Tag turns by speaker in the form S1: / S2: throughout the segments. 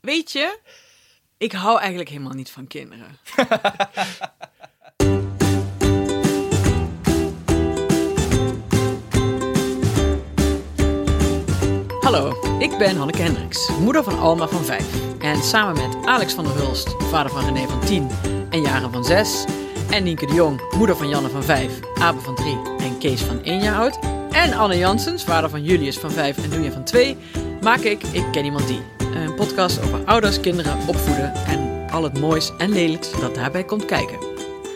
S1: weet je, ik hou eigenlijk helemaal niet van kinderen. Hallo, ik ben Hanneke Hendricks, moeder van Alma van 5. En samen met Alex van der Hulst, vader van René van 10 en Jaren van 6. En Nienke de Jong, moeder van Janne van 5, Abe van 3 en Kees van 1 jaar oud. En Anne Janssens, vader van Julius van 5 en Doenja van 2. Maak ik Ik Ken Iemand Die. Een podcast over ouders, kinderen, opvoeden en al het moois en lelijks dat daarbij komt kijken.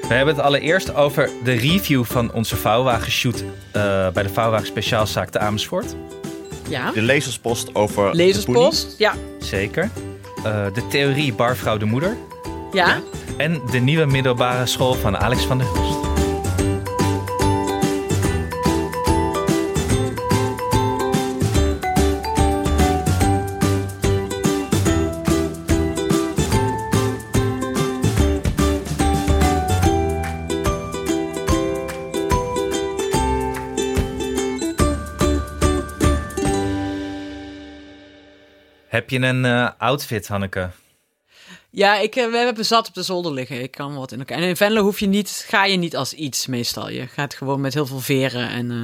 S2: We hebben het allereerst over de review van onze vouwwagenshoot eh bij de vouwwagen speciaalzaak te Amersfoort.
S1: Ja,
S3: De lezerspost over. de
S1: lezerspost. Ja,
S2: Zeker. Eh, de theorie Barvrouw de Moeder.
S1: ja.
S2: En de nieuwe middelbare school van Alex van der Hulst. Heb je een eh, outfit, Hanneke?
S1: Ja, ik, eh, we hebben zat op de zolder liggen. Ik kan wat in elkaar. En in Venlo hoef je niet, ga je niet als iets meestal. Je gaat gewoon met heel veel veren en eh,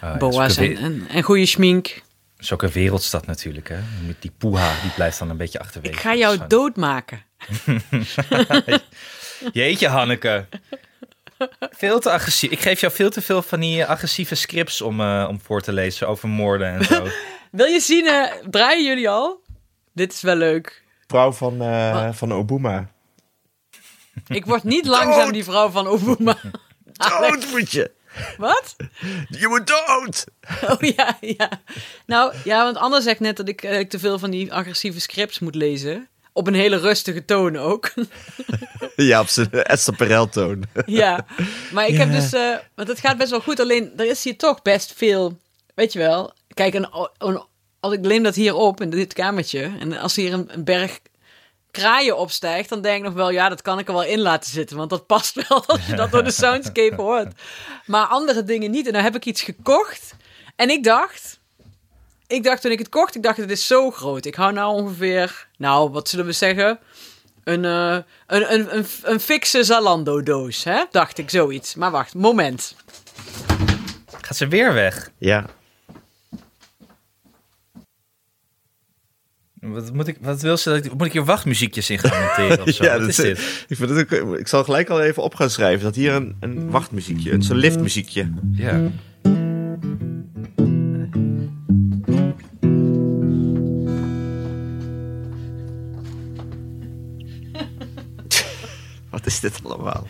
S2: Ah, ja,
S1: boa's
S2: zulke
S1: en,
S2: we-
S1: en, en goede schmink.
S2: Zulke wereldstad natuurlijk, hè? Met die poeha, die blijft dan een beetje achterwege.
S1: Ik ga
S2: Dat is
S1: jou
S2: gewoon-
S1: doodmaken.
S2: Jeetje, Hanneke. Veel te agressief. Ik geef jou veel te veel van die eh, agressieve scripts om, eh, om voor te lezen over moorden en zo.
S1: Wil je zien, eh, draaien jullie al? Dit is wel leuk.
S3: Vrouw van, eh,
S1: Wat?
S3: van Obama.
S1: Ik word niet langzaam die vrouw van Obama. Ah,
S3: Dood moet je!
S1: Wat?
S3: Je moet dood!
S1: Oh ja, ja. Nou ja, want Anne zegt net dat ik eh, te veel van die agressieve scripts moet lezen. Op een hele rustige toon ook.
S3: Ja, op zijn Esther Perel-toon.
S1: Ja, maar ik heb
S3: Ja.
S1: dus, eh, want het gaat best wel goed. Alleen er is hier toch best veel, weet je wel. Kijk, een, een- als ik neem dat hier op in dit kamertje en als hier een, een berg kraaien opstijgt, dan denk ik nog wel, ja, dat kan ik er wel in laten zitten, want dat past wel als je dat door de soundscape hoort. Maar andere dingen niet. En dan heb ik iets gekocht en ik dacht, ik dacht toen ik het kocht, ik dacht, het is zo groot. Ik hou nou ongeveer, nou, wat zullen we zeggen? Een, eh, een, een, een, een fikse Zalando-doos, hè? Dacht ik, zoiets. Maar wacht, moment.
S2: Gaat ze weer weg?
S3: Ja.
S2: Wat, moet ik, wat wil ze? dat ik- Moet ik hier wachtmuziekjes in gaan monteren of zo?
S3: ja
S2: wat is dit?
S3: Ik, vind het ook, ik zal gelijk al even op gaan schrijven dat hier een, een wachtmuziekje, een, zo'n liftmuziekje.
S2: Ja.
S3: Hmm. Wat is dit allemaal?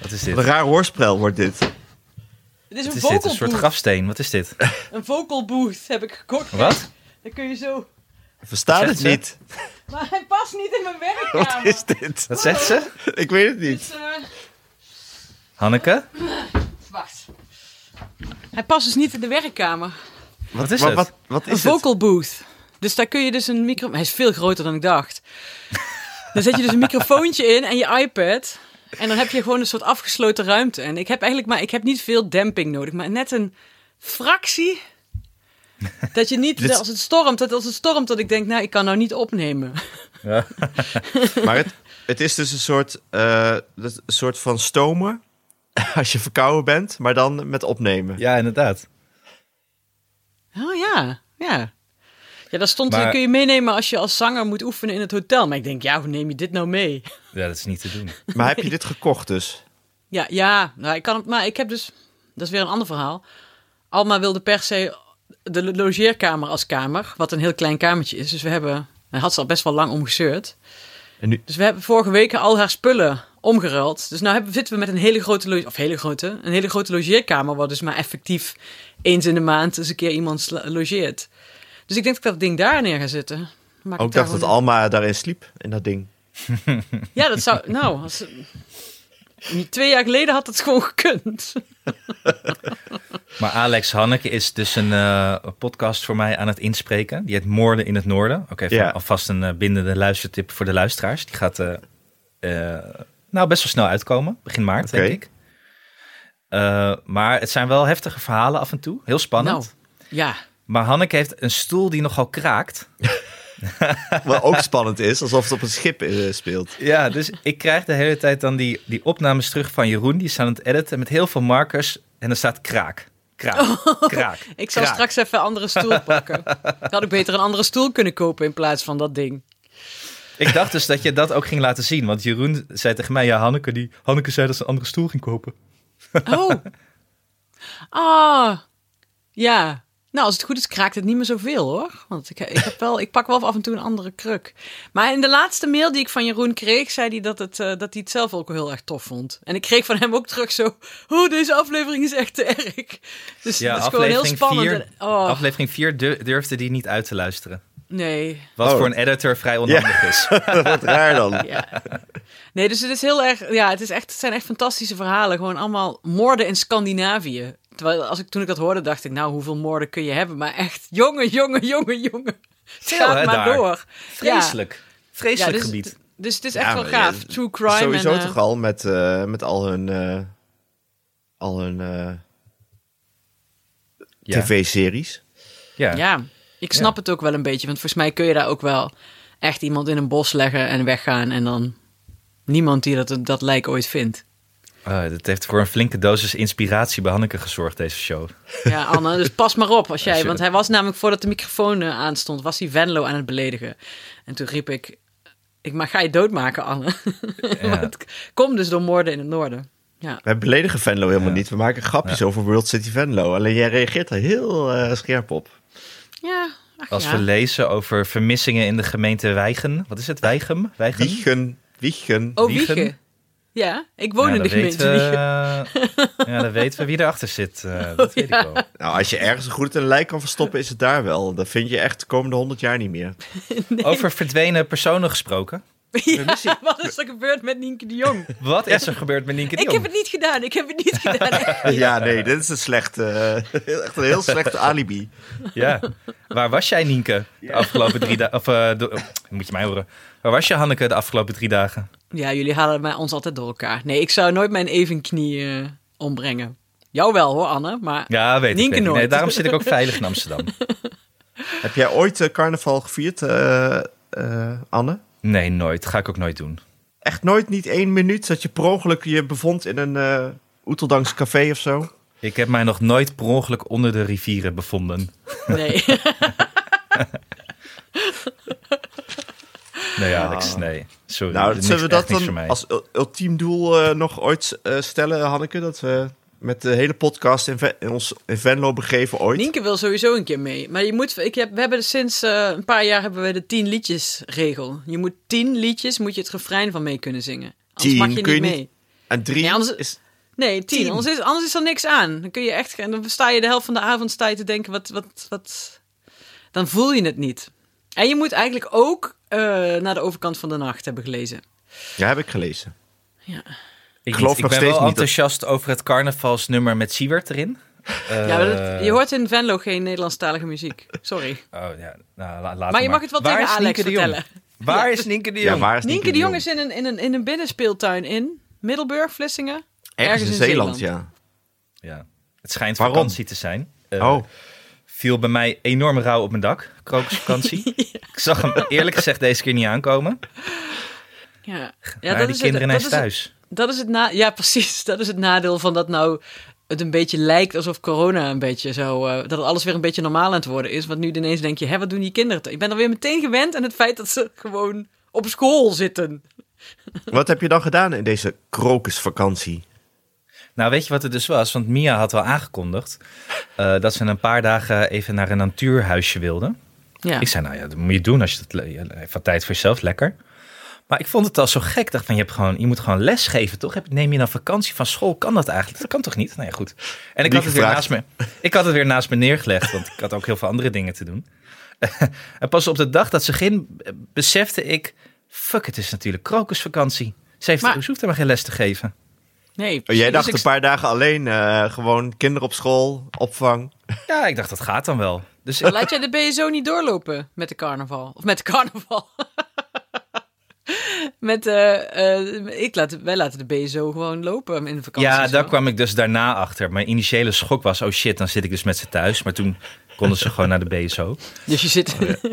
S2: Wat is
S3: Wat een
S2: dit?
S3: raar hoorspel wordt dit.
S1: Het is een
S2: Wat is dit? Een
S1: vocal
S2: soort
S1: booth.
S2: grafsteen. Wat is dit?
S1: Een vocal booth heb ik gekocht.
S2: Wat?
S1: Dan kun je zo...
S3: Ik Verstaan
S2: Zegt
S3: het
S2: ze?
S3: niet.
S1: Maar hij past niet in mijn
S3: Wat
S1: werkkamer.
S3: is dit?
S2: Wat zegt ze?
S3: Ik weet het niet.
S1: Dus, eh,
S2: Hanneke?
S1: wacht. Hij past dus niet in de werkkamer.
S2: Wat is
S3: Wat,
S2: het?
S3: wat, wat
S1: Een
S3: is het?
S1: vocal booth. Dus daar kun je dus een micro... Hij is veel groter dan ik dacht. Dan zet je dus een microfoontje in en je iPad. En dan heb je gewoon een soort afgesloten ruimte. En ik heb eigenlijk maar... Ik heb niet veel demping nodig, maar net een fractie... Dat je niet,
S3: Dit-
S1: als het stormt, dat als het stormt, dat ik denk, nou, ik kan nou niet opnemen.
S2: Ja.
S3: Maar het, het is dus een soort, eh, dat- een soort van stomen als je verkouden bent, maar dan met opnemen.
S2: ja, inderdaad.
S1: Oh ja, ja. Ja, dat stond,
S2: Maar-
S1: kun je meenemen als je als zanger moet oefenen in het hotel. Maar ik denk, ja, hoe neem je dit nou mee?
S2: Ja, dat is niet te doen.
S3: Maar heb je dit gekocht dus?
S1: Ja, ja nou, ik kan het, maar ik heb dus, dat is weer een ander verhaal. Alma wilde per se de lo- logeerkamer als kamer, wat een heel klein kamertje is. Dus we hebben, daar had ze al best wel lang om gezeurd.
S3: En nu,
S1: Dus we hebben vorige week al haar spullen omgeruild. Dus nu hebben, zitten we met een hele grote, lo- of hele grote, een hele grote logeerkamer, waar dus maar effectief eens in de maand eens een keer iemand sla- logeert. Dus ik denk dat ik dat ding daar neer ga zetten. Maak het
S3: ook
S1: daar
S3: Oh, dacht dat
S1: gewoon-
S3: Alma daarin sliep, in dat ding.
S1: Ja, dat zou, nou, als, twee jaar geleden had dat gewoon gekund.
S2: Maar Alex Hanneke is dus een eh, podcast voor mij aan het inspreken. Die heet Moorden in het Noorden. Oké, van-
S3: Ja.
S2: alvast een eh, bindende luistertip voor de luisteraars. Die gaat eh, eh, nou best wel snel uitkomen. Begin maart,
S3: Oké.
S2: denk ik. Eh, maar het zijn wel heftige verhalen af en toe. Heel spannend.
S1: Nou, ja.
S2: Maar Hanneke heeft een stoel die nogal kraakt.
S3: Wat ook spannend is, alsof het op een schip eh, speelt.
S2: Ja, dus ik krijg de hele tijd dan die, die opnames terug van Jeroen. Die is aan het editen met heel veel markers. En er staat kraak. Kraak. Kraak.
S1: Oh. Ik zal
S2: kraak.
S1: straks even een andere stoel pakken. Dan had ik beter een andere stoel kunnen kopen in plaats van dat ding.
S2: Ik dacht dus dat je dat ook ging laten zien. Want Jeroen zei tegen mij, ja, Hanneke, die, Hanneke zei dat ze een andere stoel ging kopen.
S1: Oh. Ah. Ja. Nou, als het goed is, kraakt het niet meer zoveel hoor. Want ik, ik, heb wel, ik pak wel af en toe een andere kruk. Maar in de laatste mail die ik van Jeroen kreeg, zei hij dat, het, eh, dat hij het zelf ook heel erg tof vond. En ik kreeg van hem ook terug zo: Oh, deze aflevering is echt te erg. Dus
S2: Ja,
S1: dat is gewoon heel
S2: aflevering
S1: spannend.
S2: 4
S1: En- oh,
S2: aflevering vier du- durfde die niet uit te luisteren.
S1: nee.
S2: Wat
S3: Oh.
S2: voor een editor vrij onhandig is.
S3: Wat raar dan.
S1: Ja. Nee, dus het is heel erg. Ja, het, is echt, het zijn echt fantastische verhalen. Gewoon allemaal moorden in Scandinavië. Terwijl als ik, toen ik dat hoorde, dacht ik, nou, hoeveel moorden kun je hebben? Maar echt, jongen, jongen, jongen, jongen. Het
S2: Veel,
S1: gaat
S2: hè,
S1: maar
S2: daar.
S1: door.
S2: Vreselijk.
S1: Ja,
S2: Vreselijk
S1: dus,
S2: gebied.
S1: Dus het is echt
S3: Ja,
S1: wel
S3: maar
S1: gaaf.
S3: ja,
S1: True crime.
S3: Sowieso
S1: en, eh,
S3: toch al met, eh, met al hun, eh, al hun eh,
S2: Ja.
S3: tv-series.
S2: Ja.
S1: Ja, ik snap het ook wel een beetje. Want volgens mij kun je daar ook wel echt iemand in een bos leggen en weggaan. En dan niemand die dat, dat lijk ooit vindt.
S2: Ah, dat heeft voor een flinke dosis inspiratie bij Hanneke gezorgd, deze show.
S1: Ja, Anne, dus pas maar op als jij.
S2: Als je-
S1: Want hij was namelijk voordat de microfoon eh, aanstond, was hij Venlo aan het beledigen. En toen riep ik: Ik maar ga je doodmaken, Anne.
S2: Ja.
S1: Want het komt dus door moorden in het noorden. Ja,
S3: Wij beledigen Venlo helemaal niet. We maken grapjes over World City Venlo. Alleen jij reageert daar heel eh, scherp op.
S1: ja. ach
S2: Als
S1: ja.
S2: we lezen over vermissingen in de gemeente Weigen. Wat is het? Weigem? Weigen?
S3: Wiegen, wiegen.
S1: Oh, Wiegen.
S2: Wiegen?
S1: Ja, ik woon in de gemeente Wiegen.
S2: ja, dan weten we wie erachter zit. eh, dat weet ik wel.
S3: Nou, als je ergens goed een lijk kan verstoppen, is het daar wel. Dat vind je echt de komende honderd jaar niet meer.
S2: Over verdwenen personen gesproken.
S1: Ja, wat is er gebeurd met Nienke de Jong?
S2: Wat is er gebeurd met Nienke de
S1: Ik
S2: Jong?
S1: heb het niet gedaan, ik heb het niet gedaan. echt niet.
S3: Ja, nee, dit is een slechte, eh, echt een heel slechte alibi.
S2: Ja. Waar was jij, Nienke, de afgelopen drie dagen? Of, eh, de- oh, moet je mij horen. Waar was je, Hanneke, de afgelopen drie dagen?
S1: Ja, jullie halen mij ons altijd door elkaar. Nee, ik zou nooit mijn evenknie eh, ombrengen. Jou wel hoor, Anne, maar
S2: Ja, weet
S1: Nienke
S2: ik. Weet ik. Nee,
S1: nooit.
S2: daarom zit ik ook veilig in Amsterdam.
S3: Heb jij ooit eh, carnaval gevierd, eh, eh, Anne?
S2: Nee, nooit. Ga ik ook nooit doen.
S3: Echt nooit, niet één minuut, dat je per ongeluk je bevond in een eh Oeteldangs café of zo?
S2: Ik heb mij nog nooit per ongeluk onder de rivieren bevonden.
S1: nee.
S2: Nee, Alex, nee. Sorry.
S3: Nou,
S2: niks-
S3: zullen we
S2: echt
S3: dat
S2: niks voor mij.
S3: dan als ul- ultiem doel eh, nog ooit eh, stellen, Hanneke? Dat we met de hele podcast in, Ve- in ons in Venlo begeven ooit.
S1: Nienke wil sowieso een keer mee. Maar je moet, ik heb, we hebben sinds eh, een paar jaar hebben we de tien liedjes regel. Je moet tien liedjes, moet je het refrein van mee kunnen zingen. Anders
S3: Tien
S1: mag je
S3: kun je
S1: niet mee.
S3: niet- En drie
S1: Nee, anders-
S3: is...
S1: Nee, tien.
S3: Tien.
S1: Anders, is, anders is er niks aan. Dan kun je echt, en dan sta je de helft van de avond sta je te denken, wat, wat, wat. Dan voel je het niet. En je moet eigenlijk ook eh, naar de overkant van de nacht hebben gelezen.
S3: Ja, heb ik gelezen.
S2: Ik,
S3: geloof
S2: niet.
S3: nog
S2: ik ben
S3: steeds niet
S2: wel
S3: dat-
S2: enthousiast over het carnavalsnummer met Siewert erin.
S1: ja, maar dat-
S2: Eh,
S1: je hoort in Venlo geen Nederlandstalige muziek. Sorry.
S2: Oh, ja. Nou, la- laat
S1: Maar je
S2: maar
S1: mag het wel
S2: Waar
S1: tegen
S2: is
S1: Alex
S2: Nienke de Jong?
S1: vertellen.
S2: Waar is Nienke de
S3: Ja,
S2: Jong?
S3: waar is
S1: Nienke de Jong
S3: Jong?
S1: is in een, in een, in een binnenspeeltuin in Middelburg, Vlissingen.
S3: Ergens, in Zeeland,
S2: Ja. Het schijnt
S3: Waarom?
S2: vakantie te zijn. Eh,
S3: ja. Oh,
S2: Viel bij mij enorm rauw op mijn dak. Krokusvakantie. Ik zag hem eerlijk gezegd deze keer niet aankomen.
S1: Ja,
S2: Ja,
S1: ja
S2: maar die
S1: is het,
S2: kinderen naar
S1: dat is het-
S2: thuis.
S1: dat is het na ja, precies. Dat is het nadeel van dat nou het een beetje lijkt alsof corona een beetje zo... eh, dat alles weer een beetje normaal aan het worden is. Want nu ineens denk je, hè, wat doen die kinderen? toch? Ik ben er weer meteen gewend aan het feit dat ze gewoon op school zitten.
S3: wat heb je dan gedaan in deze krokusvakantie?
S2: Nou, weet je wat het dus was? Want Mia had wel aangekondigd eh, dat ze een paar dagen even naar een natuurhuisje wilde.
S1: Ja,
S2: Ik zei, nou ja, dat moet je doen als je dat le- je- even wat tijd voor jezelf lekker. Maar ik vond het al zo gek. Ik dacht van, je, hebt gewoon, je moet gewoon les geven, toch? Heb- Neem je dan vakantie van school? Kan dat eigenlijk? Dat kan toch niet? Nou ja, goed. En ik had,
S3: Wie
S2: het weer
S3: gevraagd?
S2: naast me, ik had het weer naast me neergelegd, want ik had ook heel veel andere dingen te doen. en pas op de dag dat ze ging, eh, besefte ik... Fuck, het is natuurlijk krokusvakantie. Ze, heeft,
S1: Maar-
S2: ze hoeft helemaal geen les te geven.
S1: nee.
S3: Oh, jij
S1: precies.
S3: dacht
S1: Ik-
S3: een paar dagen alleen, eh, gewoon kinderen op school, opvang.
S2: Ja, ik dacht, dat gaat dan wel. Dus ik-
S1: Laat jij de BSO niet doorlopen met de carnaval? Of met de carnaval? Met, eh, eh, ik laat, wij laten de BSO gewoon lopen in de vakantie.
S2: Ja, daar kwam ik dus daarna achter. Mijn initiële schok was, oh shit, dan zit ik dus met ze thuis. Maar toen konden ze gewoon naar de BSO.
S1: Dus je zit...
S2: Oh,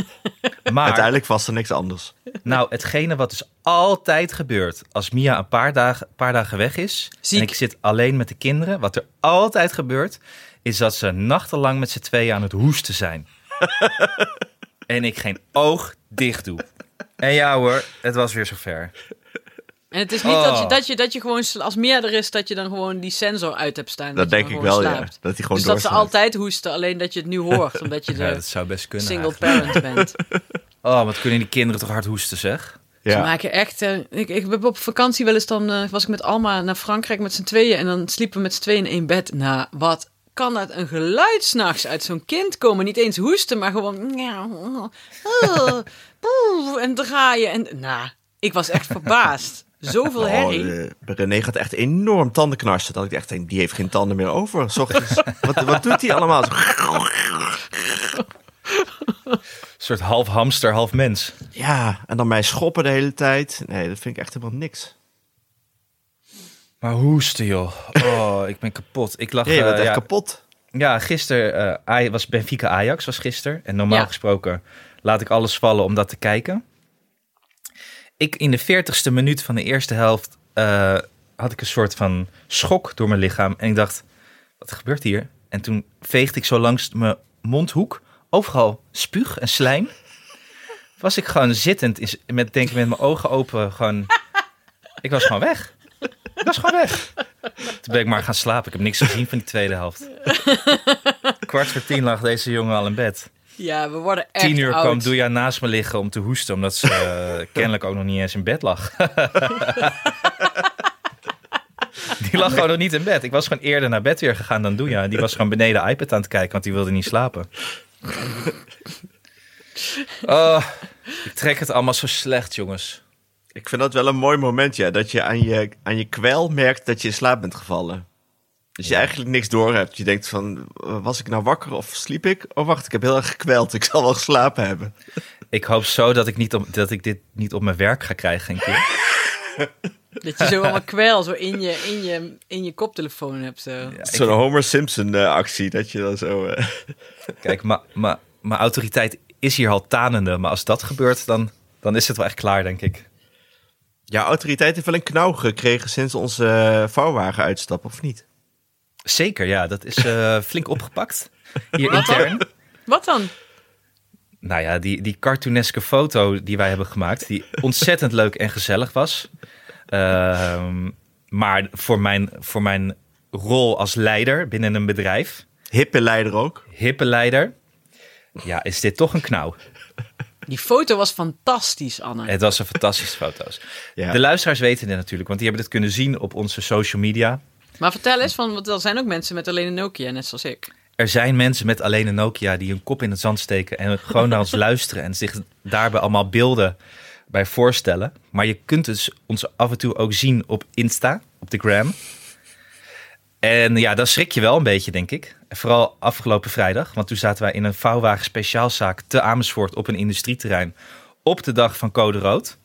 S2: Maar
S3: Uiteindelijk was er niks anders.
S2: nou, hetgene wat dus altijd gebeurt als Mia een paar dagen, paar dagen weg is...
S1: Ziek.
S2: en ik zit alleen met de kinderen, wat er altijd gebeurt... is dat ze nachtenlang met z'n tweeën aan het hoesten zijn. en ik geen oog dicht doe. En ja hoor, het was weer zover.
S1: en het is niet
S2: Oh.
S1: dat, je, dat, je, dat je gewoon, sla- als meer er is, dat je dan gewoon die sensor uit hebt staan.
S3: Dat
S1: je
S3: denk
S1: dan
S3: ik
S1: gewoon
S3: wel, ja.
S1: slaapt.
S3: Dat hij gewoon
S1: Dus dat ze
S3: doorsnijdt.
S1: altijd hoesten, alleen dat je het nu hoort. Omdat je de
S2: Ja, dat zou best kunnen
S1: single
S2: eigenlijk.
S1: parent bent.
S2: Oh, wat kunnen die kinderen toch hard hoesten zeg.
S1: Ze
S3: Ja.
S1: maken echt. eh, ik, ik heb op vakantie wel eens dan. eh, was ik met Alma naar Frankrijk met z'n tweeën. En dan sliepen we met z'n tweeën in één bed. Nou, wat kan dat een geluid s'nachts uit zo'n kind komen? Niet eens hoesten, maar gewoon. oh, En draaien. En, nou, ik was echt verbaasd. Zoveel herrie.
S3: Oh, eh, René gaat echt enorm tanden knarsen. Dat ik echt denk, die heeft geen tanden meer over. 's ochtends. wat, wat doet hij allemaal? Zo-
S2: Een soort half hamster, half mens.
S3: Ja, en dan mij schoppen de hele tijd. Nee, dat vind ik echt helemaal niks.
S2: Maar hoesten, joh. Oh, ik ben kapot. Ik lag...
S3: Ja, je bent
S2: eh,
S3: echt
S2: ja,
S3: kapot.
S2: ja, gisteren eh, Aj- was Benfica Ajax, was gisteren. En normaal
S1: Ja.
S2: gesproken laat ik alles vallen om dat te kijken. Ik in de 40ste minuut van de eerste helft eh, had ik een soort van schok door mijn lichaam. En ik dacht, wat gebeurt hier? En toen veegde ik zo langs mijn mondhoek overal spuug en slijm. Was ik gewoon zittend, is- met, denk ik met mijn ogen open, gewoon... Ik was gewoon weg. Ik was gewoon weg. Toen ben ik maar gaan slapen. Ik heb niks gezien van die tweede helft. Kwart voor tien lag deze jongen al in bed.
S1: Ja, we worden echt.
S2: Tien uur
S1: oud.
S2: kwam Doeja naast me liggen om te hoesten, omdat ze eh, kennelijk ook nog niet eens in bed lag. die lag gewoon nog niet in bed. Ik was gewoon eerder naar bed weer gegaan dan Doeja. Die was gewoon beneden iPad aan het kijken, want die wilde niet slapen. Oh, ik trek het allemaal zo slecht, jongens.
S3: Ik vind dat wel een mooi moment, ja. Dat je aan je, aan je kwel merkt dat je in slaap bent gevallen. Dus je eigenlijk niks door hebt. Je denkt van, eh, was ik nou wakker of sliep ik? Oh, wacht, ik heb heel erg gekweld. Ik zal wel geslapen hebben.
S2: Ik hoop zo dat ik, niet op, dat ik dit niet op mijn werk ga krijgen een keer.
S1: Dat je zo allemaal kwel zo in je, in je, in je koptelefoon hebt. Zo. Ja.
S3: Zo'n Homer Simpson eh, actie, dat je dan zo... eh,
S2: Kijk, ma- ma- mijn autoriteit is hier al tanende. Maar als dat gebeurt, dan, dan is het wel echt klaar, denk ik.
S3: Ja, autoriteit heeft wel een knauw gekregen sinds onze eh, vouwwagen uitstap, of niet?
S2: Zeker, ja. Dat is eh, flink opgepakt. Hier intern.
S1: Wat dan?
S2: Nou ja, die, die cartooneske foto die wij hebben gemaakt, die ontzettend leuk en gezellig was. Ehm, maar voor mijn, voor mijn rol als leider binnen een bedrijf,
S3: Hippe leider ook.
S2: hippe leider, ja, is dit toch een knauw.
S1: Die foto was fantastisch, Anne.
S2: Het was een fantastische foto's.
S3: Ja.
S2: De luisteraars weten dit natuurlijk, want die hebben dit kunnen zien op onze social media.
S1: Maar vertel eens, van, want er zijn ook mensen met alleen een Nokia, net zoals ik.
S2: Er zijn mensen met alleen een Nokia die hun kop in het zand steken en gewoon naar ons luisteren en zich daarbij allemaal beelden bij voorstellen. Maar je kunt dus ons af en toe ook zien op Insta, op de gram. En ja, dan schrik je wel een beetje, denk ik. En Vooral afgelopen vrijdag, want toen zaten wij in een vouwwagen speciaalzaak te Amersfoort op een industrieterrein op de dag van Code Rood.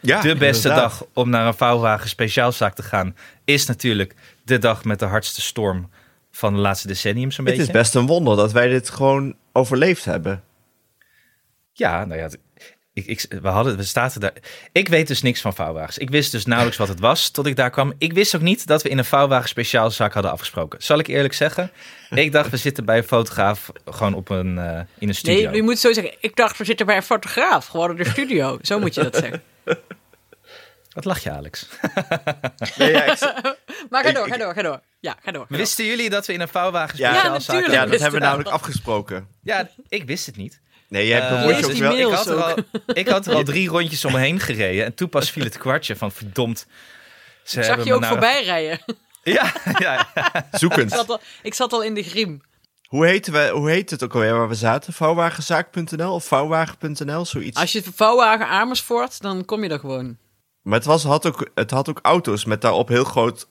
S3: Ja,
S2: de beste
S3: inderdaad.
S2: dag om naar een vouwwagen speciaalzaak te gaan is natuurlijk de dag met de hardste storm van de laatste decennium zo'n
S3: Het
S2: beetje.
S3: is best een wonder dat wij dit gewoon overleefd hebben.
S2: Ja, nou ja, het- ik, ik, we hadden, we zaten daar. Ik weet dus niks van vouwwagens. Ik wist dus nauwelijks wat het was tot ik daar kwam. Ik wist ook niet dat we in een vouwwagen speciaal zaak hadden afgesproken. Zal ik eerlijk zeggen? Ik dacht, we zitten bij een fotograaf gewoon op een, eh, in een studio.
S1: Nee, je moet zo zeggen. Ik dacht, we zitten bij een fotograaf, gewoon in de studio. Zo moet je dat zeggen.
S2: Wat lach je, Alex?
S3: Nee, ja, ik-
S1: Maar ga
S3: Ik-
S1: door,
S3: ik-
S1: ga door, ga door. Ja, ga door. ga
S2: Wisten jullie dat we in een vouwwagen
S3: Ja,
S2: speciaal zaak
S1: natuurlijk.
S3: ja,
S2: hadden?
S3: dat hebben we namelijk afgesproken.
S2: Ja, ik wist het niet.
S3: Nee, jij
S2: Eh,
S3: bemoeit je
S1: lees
S3: ook
S1: die
S3: wel...
S1: mail.
S2: Ik
S1: Pils
S2: had, er al, ik had er al drie rondjes om me heen gereden. En toen pas viel het kwartje van verdomd. Ze
S1: door. Ik zag
S2: hebben
S1: je
S2: me nou-
S1: ook
S2: naar-
S1: voorbij rijden.
S2: Ja, ja,
S1: Ik zat,
S3: Zoekend.
S1: al, ik zat al in de griem.
S3: Hoe, heten we, hoe heet het ook alweer waar we zaten? Vouwwagenzaak.nl of vouwwagen.nl, zoiets.
S1: Als je vouwwagen Amersfoort, dan kom je er gewoon. Nou
S3: Maar het, was, had ook, het had ook auto's met daarop heel groot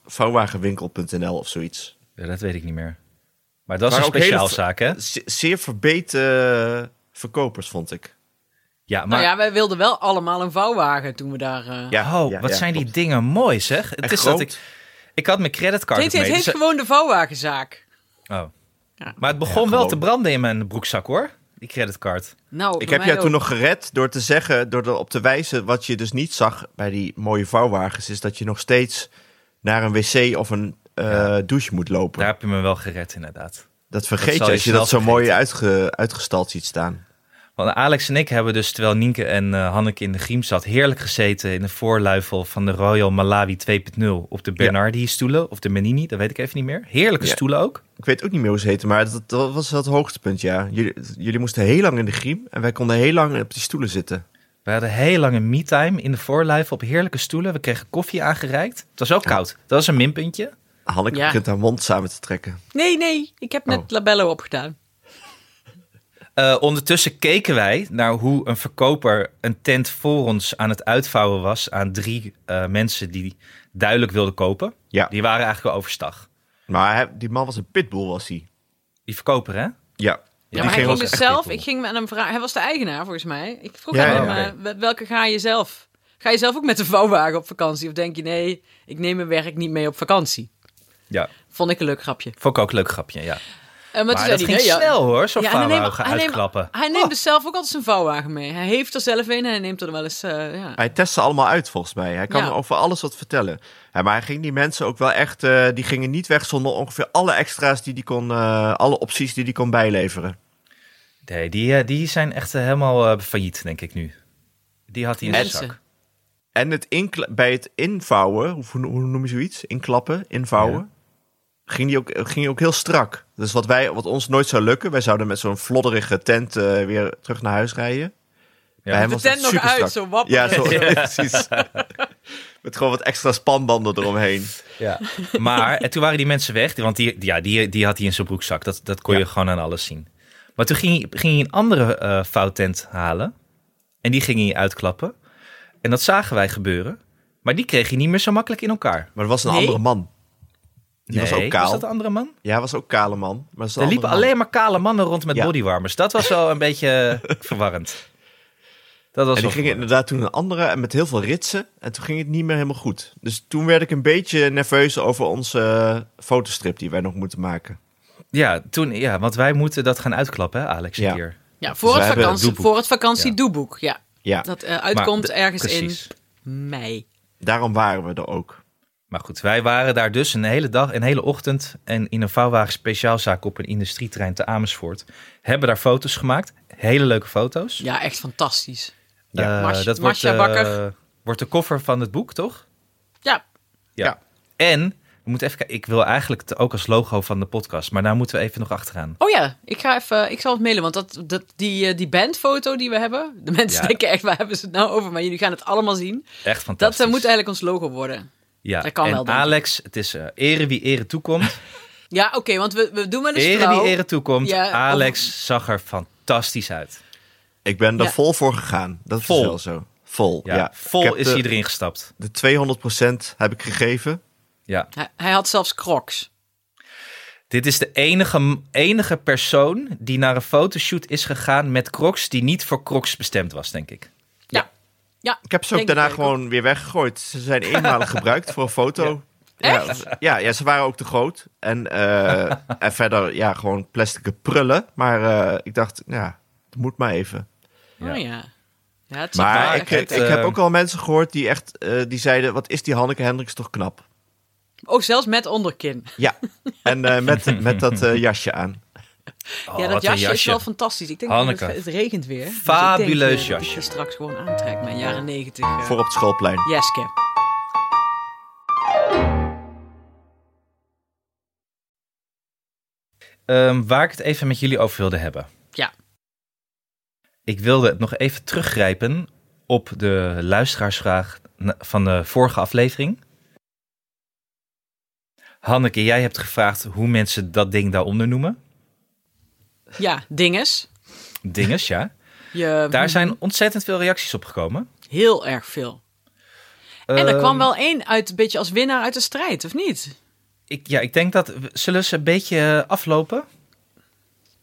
S3: vouwwagenwinkel.nl of zoiets.
S2: Ja, dat weet ik niet meer. Maar dat is
S3: Maar
S2: een
S3: ook hele-
S2: speciaalzaak, hè?
S3: Ze- zeer verbeten eh, verkopers, vond ik.
S2: Ja, maar
S1: Nou ja, wij wilden wel allemaal een vouwwagen toen we daar... eh
S3: Ja,
S2: oh,
S3: ja,
S2: wat
S3: ja,
S2: zijn die
S3: klopt.
S2: dingen mooi, zeg. Het is
S3: En
S2: dat
S3: groot.
S2: ik, ik had mijn creditcard
S1: Dit
S2: ook
S1: heet,
S2: mee,
S1: heet
S2: dus-
S1: gewoon de vouwwagenzaak.
S2: oh.
S1: Ja.
S2: Maar het begon wel
S3: Ja, gewoon.
S2: te branden in mijn broekzak, hoor. Die creditcard.
S1: Nou,
S3: Ik
S1: bij
S3: heb
S1: mij
S3: jou toen
S1: ook.
S3: nog gered door te zeggen, door erop te wijzen, wat je dus niet zag bij die mooie vouwwagens, is dat je nog steeds naar een wc of een eh, douche moet lopen.
S2: Daar heb je me wel gered, inderdaad.
S3: dat
S2: dat
S3: vergeet
S2: zal
S3: je
S2: je
S3: als je dat zo
S2: snel
S3: mooi uitge, uitgestald ziet staan.
S2: Want Alex en ik hebben dus, terwijl Nienke en eh, Hanneke in de griem zat, heerlijk gezeten in de voorluifel van de Royal Malawi 2.0 op de Bernardi-stoelen. Of de Menini, dat weet ik even niet meer. Heerlijke
S3: Ja.
S2: stoelen ook.
S3: Ik weet ook niet meer hoe ze heten, maar dat, dat was dat hoogtepunt, ja. Jullie, jullie moesten heel lang in de griem en wij konden heel lang op die stoelen zitten.
S2: We hadden heel lange me-time in de voorluifel op heerlijke stoelen. We kregen koffie aangereikt. Het was wel koud. Dat was een minpuntje.
S3: Hanneke
S1: Ja.
S3: begint haar mond samen te trekken.
S1: Nee, nee, ik heb net
S3: Oh.
S1: labello opgedaan.
S2: Eh, ondertussen keken wij naar hoe een verkoper een tent voor ons aan het uitvouwen was aan drie eh, mensen die duidelijk wilden kopen.
S3: Ja.
S2: Die waren eigenlijk wel overstag.
S3: Maar hij- die man was een pitbull, was hij.
S2: Die verkoper, hè?
S3: Ja.
S1: Ja,
S3: Die
S1: maar hij
S3: ging
S1: ging
S3: ons
S1: dus
S2: echt
S1: zelf,
S2: pitbull.
S1: ik ging met hem vragen, hij was de eigenaar volgens mij. Ik vroeg
S3: Ja,
S1: aan hem,
S2: ja,
S1: eh, wel- welke ga je zelf? Ga je zelf ook met de vouwwagen op vakantie? Of denk je, nee, ik neem mijn werk niet mee op vakantie?
S2: Ja.
S1: Vond ik een leuk grapje.
S2: Vond ik ook een leuk grapje, ja.
S1: Eh, maar
S2: Maar
S1: toen
S2: dat
S1: zei
S2: ging
S1: hij, nee, ja.
S2: snel Oh. hoor, zo'n
S1: Ja,
S2: ja,
S1: en hij neemt-
S2: vouwwagen
S1: hij neemt-
S2: uitklappen.
S1: Hij neemt dus zelf ook altijd zijn vouwwagen mee. Hij heeft er zelf een en hij neemt er wel eens... eh, ja.
S3: Hij test ze allemaal uit, volgens mij. Hij kan
S1: Ja.
S3: over alles wat vertellen. Ja, maar hij ging die mensen ook wel echt... eh, die gingen niet weg zonder ongeveer alle extra's die die kon... eh, alle opties die die kon bijleveren.
S2: Nee, die, eh, die zijn echt eh, helemaal eh, failliet, denk ik nu. Die had hij in zijn
S1: Mensen.
S2: zak.
S3: En het inkla- bij het invouwen... Hoe, hoe noem je zoiets? Inklappen? Invouwen? Ging die, ook, ging die ook heel strak. Dus wat, wij, wat ons nooit zou lukken... Wij zouden met zo'n flodderige tent eh, weer terug naar huis rijden. Bij hem
S1: de
S3: was dat
S1: tent nog uit,
S3: superstrak.
S1: zo wapperend.
S3: Ja, zo, precies. Met gewoon wat extra spanbanden eromheen.
S2: Ja. Maar en toen waren die mensen weg, want die, die- ja, die, die had hij in zijn broekzak. Dat, dat kon je gewoon aan alles zien. Maar toen ging hij, ging hij een andere eh fouttent halen. En die ging hij uitklappen. En dat zagen wij gebeuren. Maar die kreeg hij niet meer zo makkelijk in elkaar.
S3: Maar er was een
S1: Nee.
S3: andere man. Die was ook kaal.
S2: dat de andere man?
S3: Ja, was ook kale man. Maar dat is een
S2: Er
S3: andere
S2: liepen
S3: man.
S2: alleen maar kale mannen rond met
S3: Ja.
S2: bodywarmers. Dat was wel een beetje eh, verwarrend. Dat was
S3: En
S2: wel
S3: die gingen
S2: verwarrend.
S3: inderdaad toen een andere en met heel veel ritsen. En toen ging het niet meer helemaal goed. Dus toen werd ik een beetje nerveus over onze eh, fotostrip die wij nog moeten maken.
S2: Ja, toen, ja, want wij moeten dat gaan uitklappen, hè, Alex, een
S3: Ja.
S2: keer.
S1: Ja, voor,
S3: Dus
S1: het
S3: wij hebben een
S1: vakantie,
S2: doeboek.
S1: voor het vakantiedoeboek, ja.
S3: Ja,
S1: Dat eh, uitkomt
S2: de-
S1: ergens
S2: precies.
S1: in mei.
S3: daarom waren we er ook.
S2: Maar goed, wij waren daar dus een hele dag, een hele ochtend... en in een vouwwagen speciaalzaak op een industrietrein te Amersfoort. Hebben daar foto's gemaakt. Hele leuke foto's.
S1: Ja, echt fantastisch.
S2: Eh,
S1: Mars-
S2: dat
S1: Marcia
S2: wordt, eh,
S1: Bakker.
S2: wordt de koffer van het boek, toch?
S1: Ja,
S3: Ja.
S2: En, we moeten even kijken, ik wil eigenlijk het ook als logo van de podcast... maar daar moeten we even nog achteraan.
S1: Oh ja, ik ga even, ik zal het mailen, want dat, dat, die, eh, die bandfoto die we hebben, de mensen
S2: Ja.
S1: denken echt, waar hebben ze het nou over? Maar jullie gaan het allemaal zien.
S2: Echt
S1: Dat
S2: fantastisch.
S1: eh, moet eigenlijk ons logo worden.
S2: ja.
S1: dat kan
S2: en
S1: wel, denk ik.
S2: Alex, het is eh ere wie ere toekomt.
S1: Ja, oké, want we, we doen wel eens
S2: ere
S1: flauw.
S2: wie ere toekomt.
S1: Ja,
S2: Alex zag er fantastisch uit.
S3: Ik ben er
S1: Ja.
S3: vol voor gegaan. Dat
S2: Vol.
S3: is wel zo. Vol, ja.
S2: Ja,
S3: Ik
S2: vol
S3: heb
S2: is
S3: de,
S2: hij erin gestapt.
S3: De 200% heb ik gegeven.
S2: Ja.
S1: Hij, hij had zelfs crocs.
S2: Dit is de enige, enige persoon die naar een fotoshoot is gegaan met Crocs die niet voor Crocs bestemd was, denk ik.
S1: Ja. ja.
S3: Ik heb ze ook
S1: Denk ik
S3: daarna
S1: ook.
S3: gewoon weer weggegooid. Ze zijn eenmalig gebruikt voor een foto. Ja, ja, ja, ze waren ook te groot. En, eh, en verder, ja, gewoon plastic prullen. Maar eh, ik dacht, ja, het moet maar even.
S2: Ja.
S1: Oh ja. ja het zit
S3: Maar
S1: wel
S3: ik,
S1: echt-
S3: ik,
S2: het, eh,
S3: heb ook al mensen gehoord die echt eh, die zeiden: wat is die Hanneke Hendricks toch knap?
S1: Oh, zelfs met onderkin.
S3: Ja. En eh, met, met dat eh, jasje aan.
S2: Oh,
S1: ja,
S2: wat
S1: dat
S2: een
S1: jasje, is wel fantastisch. Ik denk,
S2: Hanneke.
S1: dat het, het regent weer. Dus ik denk,
S2: Fabuleus
S1: eh, dat
S2: jasje.
S1: ik die straks gewoon aantrek, mijn jaren negentig. eh,
S3: Voor op het schoolplein.
S1: Jeske.
S2: Ehm, waar ik het even met jullie over wilde hebben.
S1: Ja.
S2: Ik wilde nog even teruggrijpen op de luisteraarsvraag na- van de vorige aflevering. Hanneke, jij hebt gevraagd hoe mensen dat ding daaronder noemen.
S1: Ja, dinges.
S2: Dinges, ja.
S1: Je,
S2: Daar zijn ontzettend veel reacties op gekomen.
S1: Heel erg veel. En er kwam
S2: Ehm,
S1: wel één uit, een beetje als winnaar uit de strijd, of niet?
S2: Ik, ja, ik denk dat... we- Zullen ze een beetje eh, aflopen?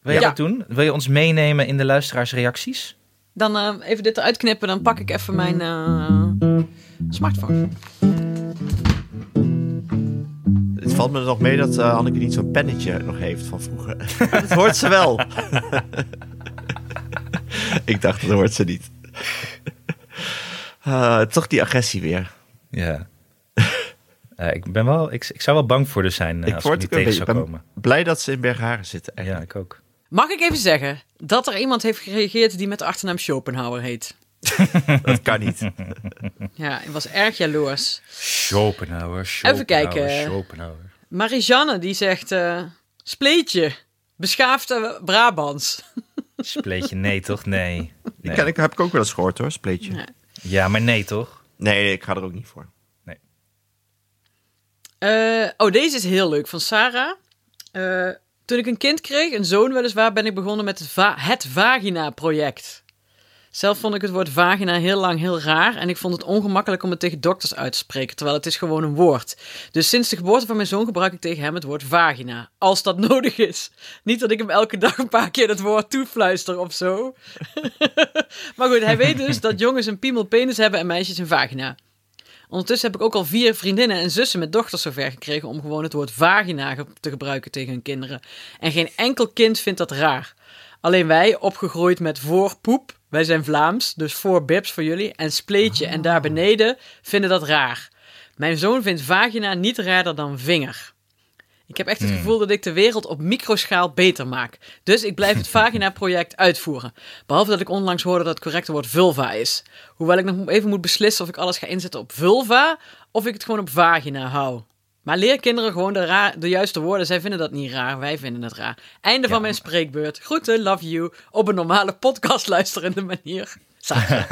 S2: Wil je
S1: Ja.
S2: dat doen? Wil je ons meenemen in de luisteraarsreacties?
S1: Dan eh, even dit eruit knippen, dan pak ik even mijn eh, smartphone.
S3: Het valt me nog mee dat eh, Hanneke niet zo'n pennetje nog heeft van vroeger. dat hoort ze wel. ik dacht, dat hoort ze niet. Eh, toch die agressie weer.
S2: Ja. Eh, ik, ben wel, ik, ik zou wel bang voor er zijn eh,
S3: ik
S2: als ik
S3: word
S2: niet
S3: ook een
S2: tegen
S3: beetje
S2: zou
S3: ben
S2: komen.
S3: blij dat ze in Bergharen zitten.
S2: Ja,
S3: Eigenlijk.
S2: ik ook.
S1: Mag ik even zeggen dat er iemand heeft gereageerd die met de achternaam Schopenhauer heet?
S3: Dat kan niet.
S1: Ja, ik was erg jaloers.
S2: Schopenhauer, Schopenhauer,
S1: Even kijken.
S2: Schopenhauer.
S1: Marijanne die zegt: eh, Spleetje, beschaafde Brabants.
S2: Spleetje, nee toch? Nee.
S3: Die
S2: Nee.
S3: ken ik, heb ik ook wel eens gehoord hoor, spleetje.
S1: Ja.
S3: Nee.
S2: Ja, maar nee toch?
S3: nee, ik ga er ook niet voor.
S1: Eh, oh, deze is heel leuk van Sarah. Eh, toen ik een kind kreeg, een zoon weliswaar, ben ik begonnen met het, va- het vagina-project. Zelf vond ik het woord vagina heel lang heel raar en ik vond het ongemakkelijk om het tegen dokters uit te spreken, terwijl het is gewoon een woord. Dus sinds de geboorte van mijn zoon gebruik ik tegen hem het woord vagina, als dat nodig is. Niet dat ik hem elke dag een paar keer dat woord toefluister of zo. maar goed, hij weet dus dat jongens een piemel penis hebben en meisjes een vagina. Ondertussen heb ik ook al vier vriendinnen en zussen met dochters zover gekregen om gewoon het woord vagina ge- te gebruiken tegen hun kinderen. En geen enkel kind vindt dat raar. Alleen wij, opgegroeid met voorpoep, wij zijn Vlaams, dus voor bibs voor jullie, en spleetje en daar beneden, vinden dat raar. Mijn zoon vindt vagina niet raarder dan vinger. Ik heb echt
S3: Hmm.
S1: het gevoel dat ik de wereld op microschaal beter maak. Dus ik blijf het vagina-project uitvoeren. Behalve dat ik onlangs hoorde dat het correcte woord vulva is. Hoewel ik nog even moet beslissen of ik alles ga inzetten op vulva of ik het gewoon op vagina hou. Maar leer kinderen gewoon de, raar, de juiste woorden. Zij vinden dat niet raar, wij vinden het raar. Einde van mijn spreekbeurt. Groeten, love you. Op een normale podcast luisterende manier. Saartje.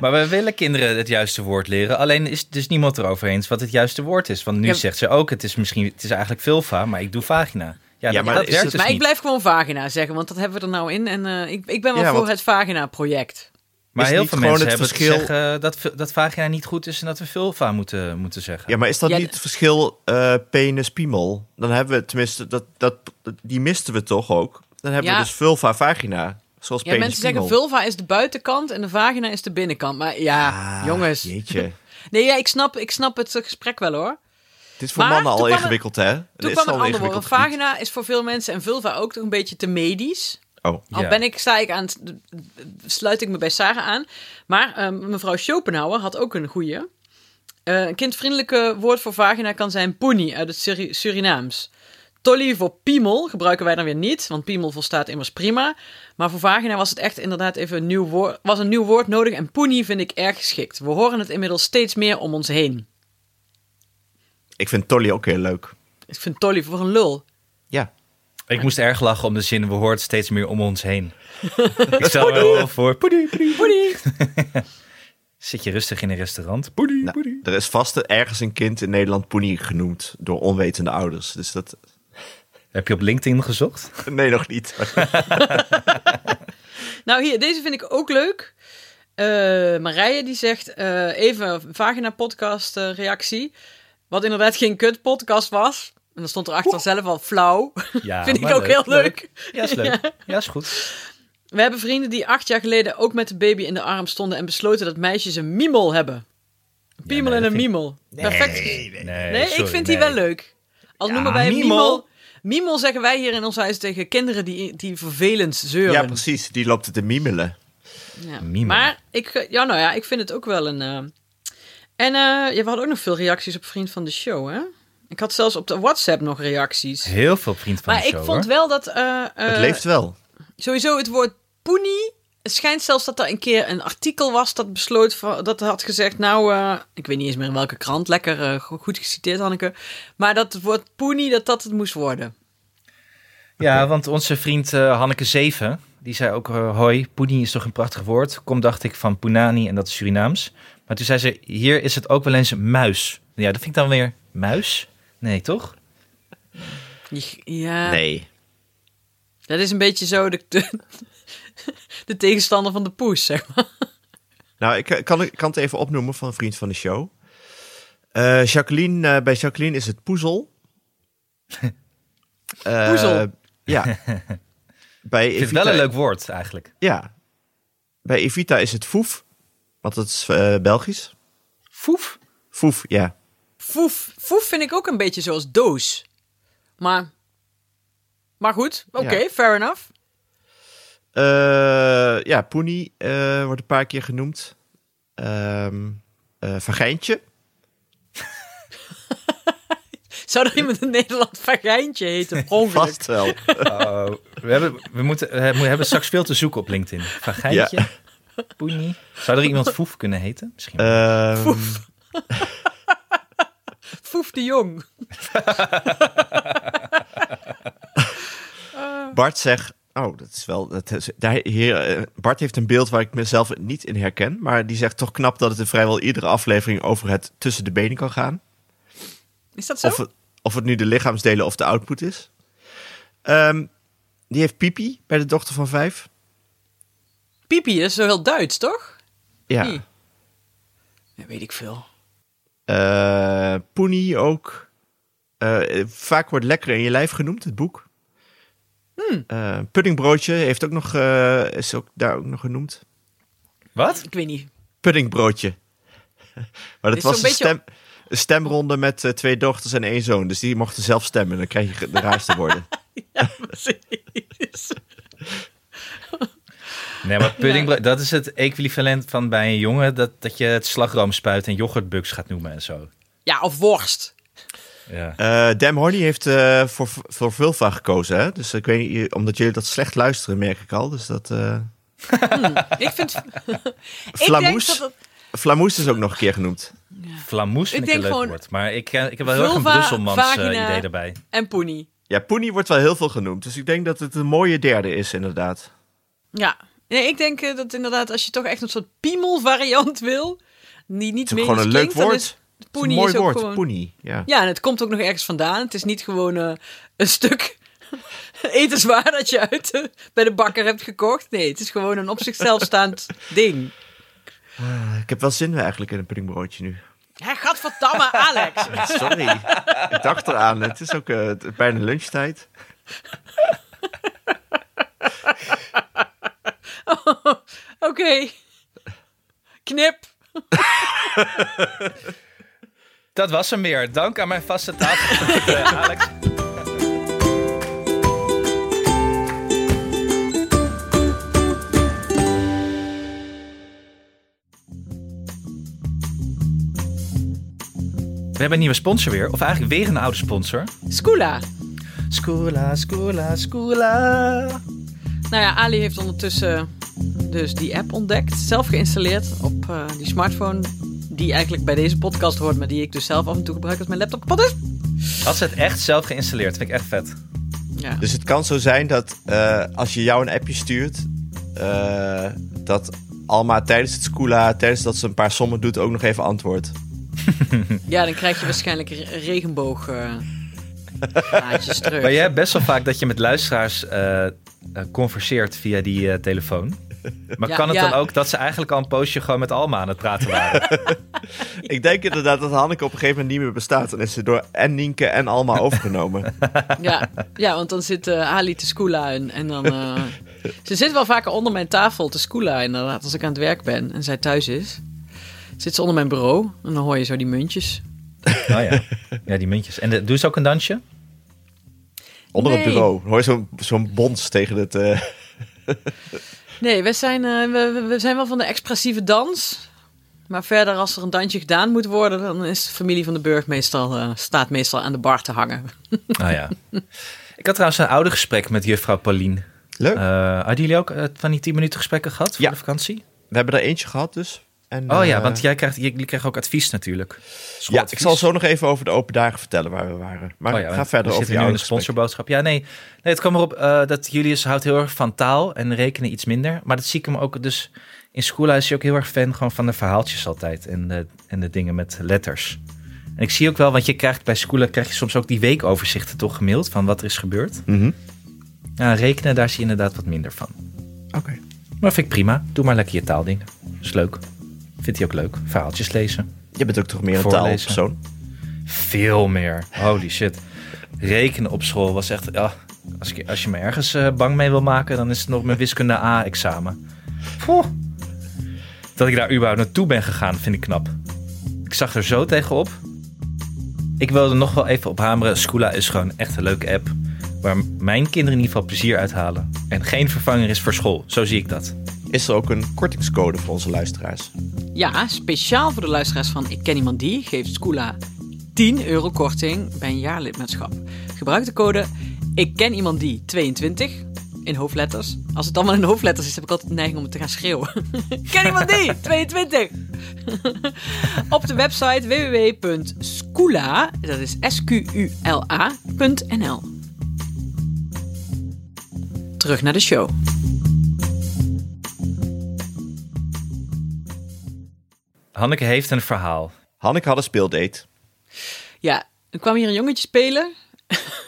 S2: Maar we willen kinderen het juiste woord leren. Alleen is dus niemand erover eens wat het juiste woord is. Want nu
S1: Ja.
S2: zegt ze ook, het is misschien, het is eigenlijk vulva, maar ik doe vagina. Ja,
S3: Ja,
S2: dat-
S3: maar
S2: dat
S3: is
S2: werkt
S3: het-
S2: dus
S1: maar ik
S2: niet.
S1: blijf gewoon vagina zeggen, want dat hebben we er nou in. En eh, ik, ik ben wel
S3: Ja,
S1: voor
S3: want-
S1: het vagina-project.
S2: Maar
S3: Is
S2: heel
S3: niet
S2: veel
S3: gewoon
S2: mensen
S3: het
S2: hebben
S3: verschil-
S2: te zeggen dat, vu- dat vagina niet goed is en dat we vulva moeten, moeten zeggen.
S3: Ja, maar is dat
S1: Ja,
S3: niet
S1: de-
S3: het verschil eh, penis-piemel? Dan hebben we tenminste, dat, dat, die misten we toch ook? Dan hebben
S1: Ja.
S3: we dus vulva-vagina, zoals
S1: Ja,
S3: penis
S1: mensen zeggen vulva is de buitenkant en de vagina is de binnenkant. Maar ja, jongens.
S3: Ah, Jeetje.
S1: Nee, ja, ik, snap, ik snap het eh, gesprek wel hoor.
S3: Dit is voor
S1: Maar
S3: mannen
S1: toen
S3: al
S1: kwam er-
S3: ingewikkeld, hè? Het
S1: Toen
S3: is
S1: kwam
S3: al
S1: een ander woord. Een
S3: ingewikkeld gebied.
S1: Vagina is voor veel mensen en vulva ook toch een beetje te medisch.
S3: Oh,
S1: Al
S2: Ja.
S1: ben ik, sta ik aan het, sluit ik me bij Sarah aan. Maar eh, mevrouw Schopenhauer had ook een goeie. Eh, een kindvriendelijke woord voor vagina kan zijn poenie uit het Suri- Surinaams. Tolly voor piemel gebruiken wij dan weer niet, want piemel volstaat immers prima. Maar voor vagina was het echt inderdaad even een nieuw woord, was een nieuw woord nodig en poenie vind ik erg geschikt. We horen het inmiddels steeds meer om ons heen.
S3: ik vind Tolly ook heel leuk.
S1: Ik vind Tolly voor een lul.
S3: Ja.
S2: Ik moest erg lachen om de zin, we hoort steeds meer om ons heen. ik stel me wel voor, poedie, poedie.
S1: Poenie!
S2: Zit je rustig in een restaurant, poedie,
S3: Nou,
S2: poedie.
S3: er is vast ergens een kind in Nederland Poenie genoemd door onwetende ouders. Dus dat...
S2: Heb je op LinkedIn gezocht?
S3: Nee, nog niet.
S1: Nou, hier, deze vind ik ook leuk. Eh, Marije die zegt eh, even een vagina podcast eh, reactie. Wat inderdaad geen kut podcast was. En dan stond erachter zelf al flauw.
S2: Ja,
S1: vind ik
S2: maar
S1: ook heel leuk.
S2: Ja, is leuk. Ja, is goed.
S1: We hebben vrienden die acht jaar geleden ook met de baby in de arm stonden en besloten dat meisjes een mimel hebben. Een Piemel
S2: nee,
S1: en
S2: dat
S1: een
S2: vind ik-
S1: mimel. Perfect.
S2: Nee,
S1: Nee, ik
S2: sorry,
S1: vind die
S2: nee.
S1: wel leuk. Al
S2: Ja,
S1: noemen wij een
S2: mimel.
S1: mimel. Mimel zeggen wij hier in ons huis tegen kinderen die, die vervelend zeuren.
S3: ja, precies. Die loopt het te miemelen.
S1: Ja.
S2: Mimo.
S1: Maar ik, eh, ja, nou ja, ik vind het ook wel een. eh, En eh, ja, we hadden ook nog veel reacties op Vriend van de Show, hè? Ik had zelfs op de WhatsApp nog reacties.
S2: Heel veel vriend van
S1: maar
S2: de
S1: ik
S2: show,
S1: vond
S2: hoor.
S1: wel dat. eh, eh,
S3: het leeft wel.
S1: Sowieso het woord poenie. Het schijnt zelfs dat er een keer een artikel was dat besloot. van- dat had gezegd. Nou, eh, ik weet niet eens meer in welke krant. Lekker eh, go- goed geciteerd, Hanneke. Maar dat het woord poenie, dat dat het moest worden.
S2: Ja, want onze vriend eh, Hanneke Zeven, die zei ook, eh, hoi, poenie is toch een prachtig woord? Kom, dacht ik, van punani en dat is Surinaams. Maar toen zei ze, hier is het ook wel eens een muis. Ja, dat vind ik dan weer, muis? Nee, toch?
S1: Je- Ja,
S3: Nee.
S1: dat is een beetje zo de, de, de tegenstander van de poes, zeg maar.
S3: Nou, ik eh, kan, ik kan het even opnoemen van een vriend van de show. Eh, Jacqueline, eh, bij Jacqueline is het poezel. Eh,
S1: Poezel?
S3: Ja. bij
S2: Ik vind het wel
S3: Evita-
S2: een leuk woord, eigenlijk.
S3: Ja. bij Evita is het foef, want dat is eh, Belgisch.
S1: Foef.
S3: Foef, ja.
S1: Foef. Foef vind ik ook een beetje zoals doos. Maar, maar goed, oké,
S3: Ja.
S1: fair enough.
S3: Eh, ja, Poenie eh, wordt een paar keer genoemd. Ehm eh, Vergijntje.
S1: Zou er iemand in Nederland vagijntje heten? per ongeluk?
S3: Vast wel.
S2: Oh, we, hebben, we, moeten, we hebben- we hebben straks veel te zoeken op LinkedIn. Vagijntje, poenie. Zou er iemand Foef kunnen heten? Misschien.
S3: Ehm,
S1: Foef de Jong.
S3: Bart zegt. Oh, dat is wel. Dat is, daar, hier, eh, Bart heeft een beeld waar ik mezelf niet in herken. Maar die zegt toch knap dat het in vrijwel iedere aflevering over het tussen de benen kan gaan.
S1: Is dat zo?
S3: Of het, of het nu de lichaamsdelen of de output is. Ehm, die heeft Pipi bij de dochter van vijf.
S1: Pipi dat is zo heel Duits, toch?
S3: Ja.
S1: Hm. Ja, weet ik veel.
S3: Eh, Poenie ook. Eh, vaak wordt lekker in je lijf genoemd, het boek.
S1: Hm.
S3: Eh, puddingbroodje heeft ook nog, eh, is ook daar ook nog genoemd.
S2: Wat?
S1: Ik weet niet.
S3: puddingbroodje. maar dat
S1: Is
S3: was
S1: zo'n
S3: een
S1: beetje-
S3: stem, een stemronde met eh, twee dochters en één zoon. Dus die mochten zelf stemmen. Dan krijg je de raarste woorden.
S1: Ja, precies.
S2: Nee, maar puddingbrood, dat is het equivalent van bij een jongen... dat, dat je het slagroomspuit en yoghurtbuks gaat noemen en zo.
S1: Ja, of worst.
S2: Ja.
S3: Eh Dam Horny heeft eh, voor, voor Vulva gekozen. Hè? Dus ik weet niet, omdat jullie dat slecht luisteren, merk ik al. Dus dat. eh
S1: Ik vind...
S3: Flamoes.
S1: Ik denk, dat het-
S3: Flamoes is ook nog een keer genoemd.
S2: Flamoes vind
S1: Ik
S2: ik, een
S1: denk
S2: leuk
S1: gewoon
S2: woord. Maar ik, eh, ik heb wel heel erg een
S1: vulva,
S2: Brusselmans eh,
S1: vagina.
S2: idee daarbij.
S1: En Poenie.
S3: Ja, Poenie wordt wel heel veel genoemd. Dus ik denk dat het een mooie derde is, inderdaad.
S1: Ja. Nee, ik denk eh, dat inderdaad als je toch echt een soort piemel variant wil, die niet
S3: Het is ook
S1: meer
S3: gewoon een leuk woord. Het is een
S1: Poenie
S3: mooi
S1: is ook
S3: woord,
S1: gewoon...
S3: Poenie. Ja.
S1: Ja, en het komt ook nog ergens vandaan. Het is niet gewoon eh, een stuk etenswaar dat je uit de- bij de bakker hebt gekocht. Nee, het is gewoon een op zichzelf staand ding.
S3: Ik heb wel zin eigenlijk in een puddingbroodje nu.
S1: Ja, gadverdamme, Alex.
S3: Sorry, ik dacht eraan. Het is ook eh, het- bijna lunchtijd.
S1: Oké. Knip.
S2: Dat was hem weer. Dank aan mijn vaste tafel. Eh, Alex. We hebben een nieuwe sponsor weer. Of eigenlijk weer een oude sponsor.
S1: Skoola.
S2: Scoola, scoola, scoola.
S1: Nou ja, Ali heeft ondertussen dus die app ontdekt. Zelf geïnstalleerd op eh, die smartphone. Die eigenlijk bij deze podcast hoort, maar die ik dus zelf af en toe gebruik als mijn laptop kapot is.
S2: Had ze het echt zelf geïnstalleerd. Vind ik echt vet.
S1: Ja.
S3: Dus het kan zo zijn dat eh, als je jou een appje stuurt, eh, dat Alma tijdens het schoola, tijdens dat ze een paar sommen doet, ook nog even antwoordt.
S1: ja, dan krijg je waarschijnlijk re- regenboog eh gaatjes terug.
S2: Maar jij hebt best wel vaak dat je met luisteraars eh, eh, converseert via die eh, telefoon. Maar
S1: Ja,
S2: kan het
S1: ja.
S2: dan ook dat ze eigenlijk al een poosje gewoon met Alma aan het praten waren?
S3: Ik denk inderdaad dat Hanneke op een gegeven moment niet meer bestaat. Dan is ze door en Nienke en Alma overgenomen.
S1: Ja, ja want dan zit eh, Ali te skoola en, en dan... eh, ze zit wel vaker onder mijn tafel te skoola inderdaad. Als ik aan het werk ben en zij thuis is, zit ze onder mijn bureau. En dan hoor je zo die muntjes.
S2: oh ja. ja, die muntjes. En de, doe ze ook een dansje?
S3: Onder het
S1: Nee.
S3: bureau. Dan Hoor je zo'n zo'n bons tegen het... eh,
S1: Nee, we zijn, eh, we, we- we zijn wel van de expressieve dans. Maar verder, als er een dansje gedaan moet worden, dan is de familie van de Burg meestal, eh, staat meestal aan de bar te hangen.
S2: Oh ja. Ik had trouwens een oude gesprek met juffrouw Pauline.
S3: Leuk.
S2: Eh, hadden jullie ook eh, van die 10 minuten gesprekken gehad voor
S3: Ja.
S2: de vakantie?
S3: We hebben er eentje gehad dus. En,
S2: Oh ja,
S3: eh,
S2: want jij krijgt, jullie krijgen ook advies natuurlijk.
S3: Ja, ik
S2: Schooladvies.
S3: zal zo nog even over de open dagen vertellen waar we waren. Maar
S2: Oh ja,
S3: ga
S2: want
S3: verder
S2: we
S3: over
S2: zitten
S3: je
S2: nu in
S3: oude
S2: de
S3: sponsor.
S2: sponsorboodschap. Ja, nee, nee het kwam erop eh, dat Julius houdt heel erg van taal en rekenen iets minder. Maar dat zie ik hem ook. Dus in school is hij ook heel erg fan gewoon van de verhaaltjes altijd. En de, en de dingen met letters. En ik zie ook wel, want je krijgt bij school krijg je soms ook die weekoverzichten toch gemaild van wat er is gebeurd.
S3: Mhm.
S2: Ja, rekenen, daar zie je inderdaad wat minder van.
S3: Oké.
S2: Maar vind ik prima. Doe maar lekker je taaldingen. Is leuk. Vindt hij ook leuk. Verhaaltjes lezen.
S3: Je bent ook toch meer een
S2: Voorlezen.
S3: taalpersoon?
S2: Veel meer. Holy shit. Rekenen op school was echt. Ja, als, ik, als je me ergens eh, bang mee wil maken, dan is het nog mijn wiskunde A-examen. Poeh. Dat ik daar überhaupt naartoe ben gegaan, vind ik knap. Ik zag er zo tegenop. Ik wilde nog wel even op hameren. Skoola is gewoon echt een leuke app. Waar mijn kinderen in ieder geval plezier uit halen. En geen vervanger is voor school. Zo zie ik dat.
S3: Is er ook een kortingscode voor onze luisteraars?
S1: Ja, speciaal voor de luisteraars van Ik Ken Iemand Die geeft Skoola 10 euro korting bij een jaarlidmaatschap. Gebruik de code Ik Ken Iemand Die 22 in hoofdletters. Als het allemaal in hoofdletters is, heb ik altijd de neiging om het te gaan schreeuwen. Ik Ken Iemand Die 22! Op de website www.skoola, dat is S-Q-U-L-A.nl. Terug naar de show.
S2: Hanneke heeft een verhaal.
S3: Hanneke had een speeldate.
S1: Ja, er kwam hier een jongetje spelen.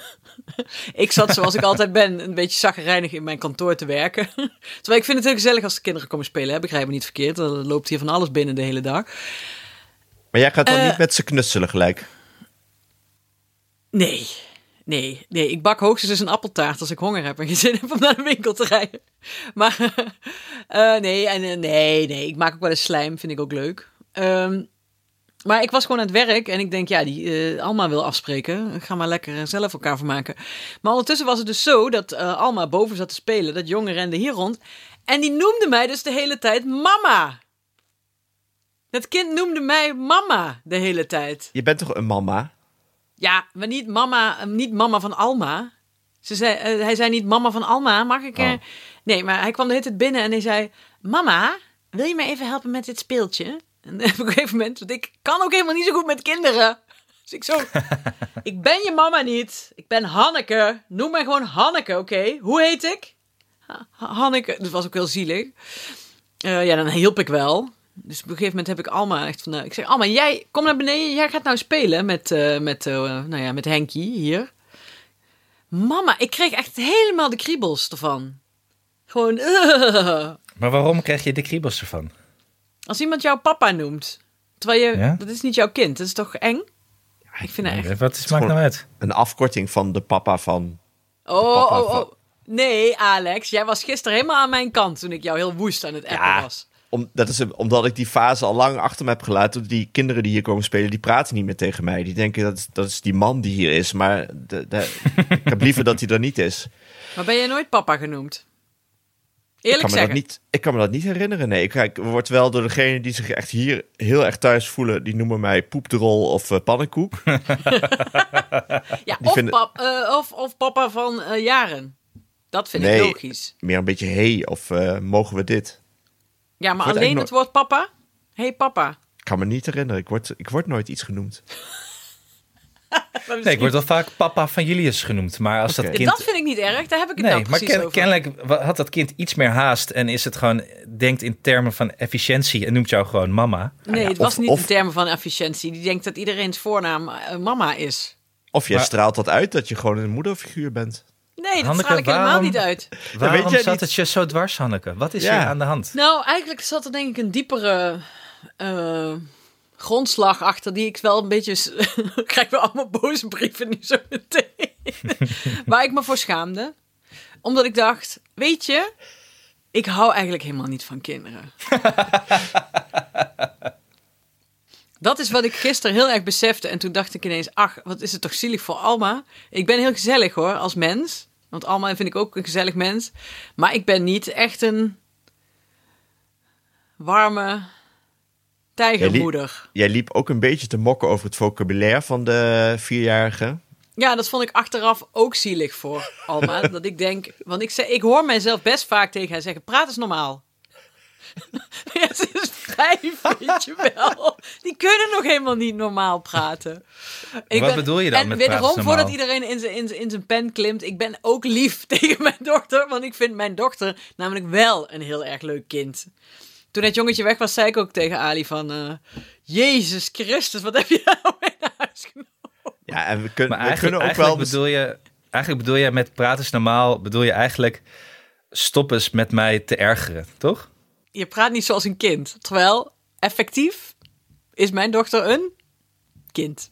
S1: ik zat zoals ik altijd ben, een beetje zaggerijnig in mijn kantoor te werken. Terwijl ik vind het heel gezellig als de kinderen komen spelen. Hè? Begrijp me niet verkeerd, er loopt hier van alles binnen de hele dag.
S3: Maar jij gaat dan
S1: Eh.
S3: niet met ze knutselen gelijk.
S1: Nee, nee, nee. Ik bak hoogstens eens een appeltaart als ik honger heb en geen zin heb om naar de winkel te rijden. Maar eh, nee, en, eh, nee, nee. Ik maak ook wel eens slijm, vind ik ook leuk. Ehm, maar ik was gewoon aan het werk en ik denk, ja, die eh Alma wil afspreken. Ga maar lekker zelf elkaar vermaken. Maar ondertussen was het dus zo dat eh, Alma boven zat te spelen. Dat jongen rende hier rond. En die noemde mij dus de hele tijd mama. Dat kind noemde mij mama de hele tijd.
S3: Je bent toch een mama?
S1: Ja, maar niet mama, eh, niet mama van Alma. Ze zei, eh, hij zei niet mama van Alma, mag ik... eh,
S3: Oh.
S1: Nee, maar hij kwam de hele tijd binnen en hij zei... Mama, wil je mij even helpen met dit speeltje? En op een gegeven moment, want ik kan ook helemaal niet zo goed met kinderen. Dus ik zo... ik ben je mama niet. Ik ben Hanneke. Noem mij gewoon Hanneke, oké? Hoe heet ik? Ha- Hanneke. Dat was ook heel zielig. Eh, ja, dan hielp ik wel. Dus op een gegeven moment heb ik Alma echt van... eh, ik zeg, Alma, jij, kom naar beneden. Jij gaat nou spelen met, eh, met, eh, nou ja, met Henkie hier. Mama, ik kreeg echt helemaal de kriebels ervan. Gewoon... eh.
S2: Maar waarom krijg je de kriebels ervan?
S1: Als iemand jou papa noemt. Terwijl je...
S2: Ja?
S1: Dat is niet jouw kind. Dat is toch eng? ik vind het echt...
S2: Wat is, maakt nou uit?
S3: Een afkorting van de papa van...
S1: Oh,
S3: papa
S1: oh,
S3: van-
S1: oh. Nee, Alex. Jij was gisteren helemaal aan mijn kant toen ik jou heel woest aan het appen
S3: Ja.
S1: was.
S3: Om, dat is een- omdat ik die fase al lang achter me heb gelaten. Die kinderen die hier komen spelen, die praten niet meer tegen mij. Die denken dat, dat is die man die hier is. Maar de, de- ik heb liever dat hij er niet is.
S1: Maar ben jij nooit papa genoemd? Eerlijk
S3: ik kan, me
S1: zeggen.
S3: dat niet, ik kan me dat niet herinneren. Nee, ik, ik word wel door degene die zich echt hier heel erg thuis voelen. Die noemen mij poepdrol of eh, pannenkoek.
S1: Ja,
S3: Die
S1: of,
S3: vinden-
S1: pap- eh, of, of papa van eh, jaren. Dat vind
S3: Nee.
S1: ik logisch.
S3: Meer een beetje hey of eh, mogen we dit?
S1: Ja, maar alleen
S3: word eigenlijk
S1: het woord papa? Hé hey, papa.
S3: Ik kan me niet herinneren. Ik word, ik word nooit iets genoemd.
S2: Nee, ik word wel vaak papa van Julius genoemd. Maar als
S3: Oké.
S2: dat
S1: Ja,
S2: kind...
S1: Dus Dat vind ik niet erg, daar heb ik het
S2: Nee,
S1: nou
S2: maar
S1: precies
S2: ken-
S1: over.
S2: kennelijk wa- had dat kind iets meer haast en is het gewoon, denkt in termen van efficiëntie en noemt jou gewoon mama.
S1: nee, het was
S3: of-
S1: niet in
S3: of-
S1: termen van efficiëntie. Die denkt dat iedereen's voornaam eh, mama is.
S3: Of jij
S2: Maar-
S3: straalt dat uit dat je gewoon een moederfiguur bent.
S1: Nee, dat
S2: Hanneke,
S1: straal ik helemaal
S2: waarom-
S1: niet uit.
S2: Waarom
S3: weet jij
S2: zat
S3: niet.
S2: het je zo dwars, Hanneke? Wat is
S3: Ja.
S2: er aan de hand?
S1: Nou, eigenlijk zat er denk ik een diepere eh, grondslag achter die ik wel een beetje... s- ik krijg wel allemaal boze brieven nu zo meteen. Waar ik me voor schaamde. Omdat ik dacht, weet je, ik hou eigenlijk helemaal niet van kinderen. Dat is wat ik gisteren heel erg besefte. En toen dacht ik ineens, ach, wat is het toch zielig voor Alma. Ik ben heel gezellig hoor, als mens. Want Alma vind ik ook een gezellig mens. Maar ik ben niet echt een warme tijgermoeder.
S3: Jij liep ook een beetje te mokken over het vocabulaire van de vierjarige.
S1: Ja, dat vond ik achteraf ook zielig voor Alma. dat ik denk, want ik, zei, ik hoor mijzelf best vaak tegen haar zeggen: praat eens normaal. ja, ze is vijf, weet je wel. Die kunnen nog helemaal niet normaal praten. Ik
S2: Wat bedoel je dan
S1: En
S2: met praat eens
S1: wederom,
S2: normaal?
S1: voordat iedereen in zijn, in, zijn, in zijn pen klimt, ik ben ook lief tegen mijn dochter. Want ik vind mijn dochter namelijk wel een heel erg leuk kind. Toen het jongetje weg was, zei ik ook tegen Ali van... eh, Jezus Christus, wat heb je nou mee naar huis genomen?
S3: Ja, en we, kun-
S2: Maar
S3: we kunnen
S2: eigenlijk,
S3: ook wel...
S2: eigenlijk bedoel je, eigenlijk bedoel je met praten is normaal, bedoel je eigenlijk stop eens met mij te ergeren, toch?
S1: je praat niet zoals een kind. Terwijl, effectief is mijn dochter een kind.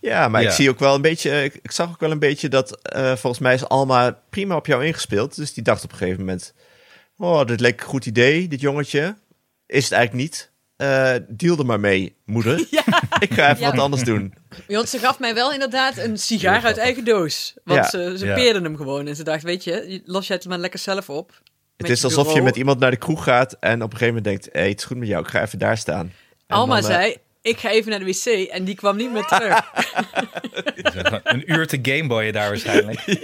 S3: Ja, maar
S2: Ja.
S3: ik zie ook wel een beetje... eh, Ik, ik zag ook wel een beetje dat... eh, volgens mij is Alma prima op jou ingespeeld. Dus die dacht op een gegeven moment... Oh, dit leek een goed idee, dit jongetje. is het eigenlijk niet. Eh, deal er maar mee, moeder.
S1: Ja.
S3: Ik ga even
S1: Ja.
S3: wat anders doen.
S1: Want ze gaf mij wel inderdaad een sigaar uit eigen doos. Want
S3: Ja.
S1: ze, ze
S2: Ja.
S1: peerden hem gewoon. En ze dacht, weet je, los jij het maar lekker zelf op.
S3: Het
S1: Met
S3: is alsof je
S1: bureau.
S3: met iemand naar de kroeg gaat en op een gegeven moment denkt: hé, hey, het is goed met jou, ik ga even daar staan. En
S1: Alma
S3: dan, eh,
S1: zei, ik ga even naar de wc. En die kwam niet meer terug.
S2: Een uur te gameboyen daar waarschijnlijk.
S1: nee,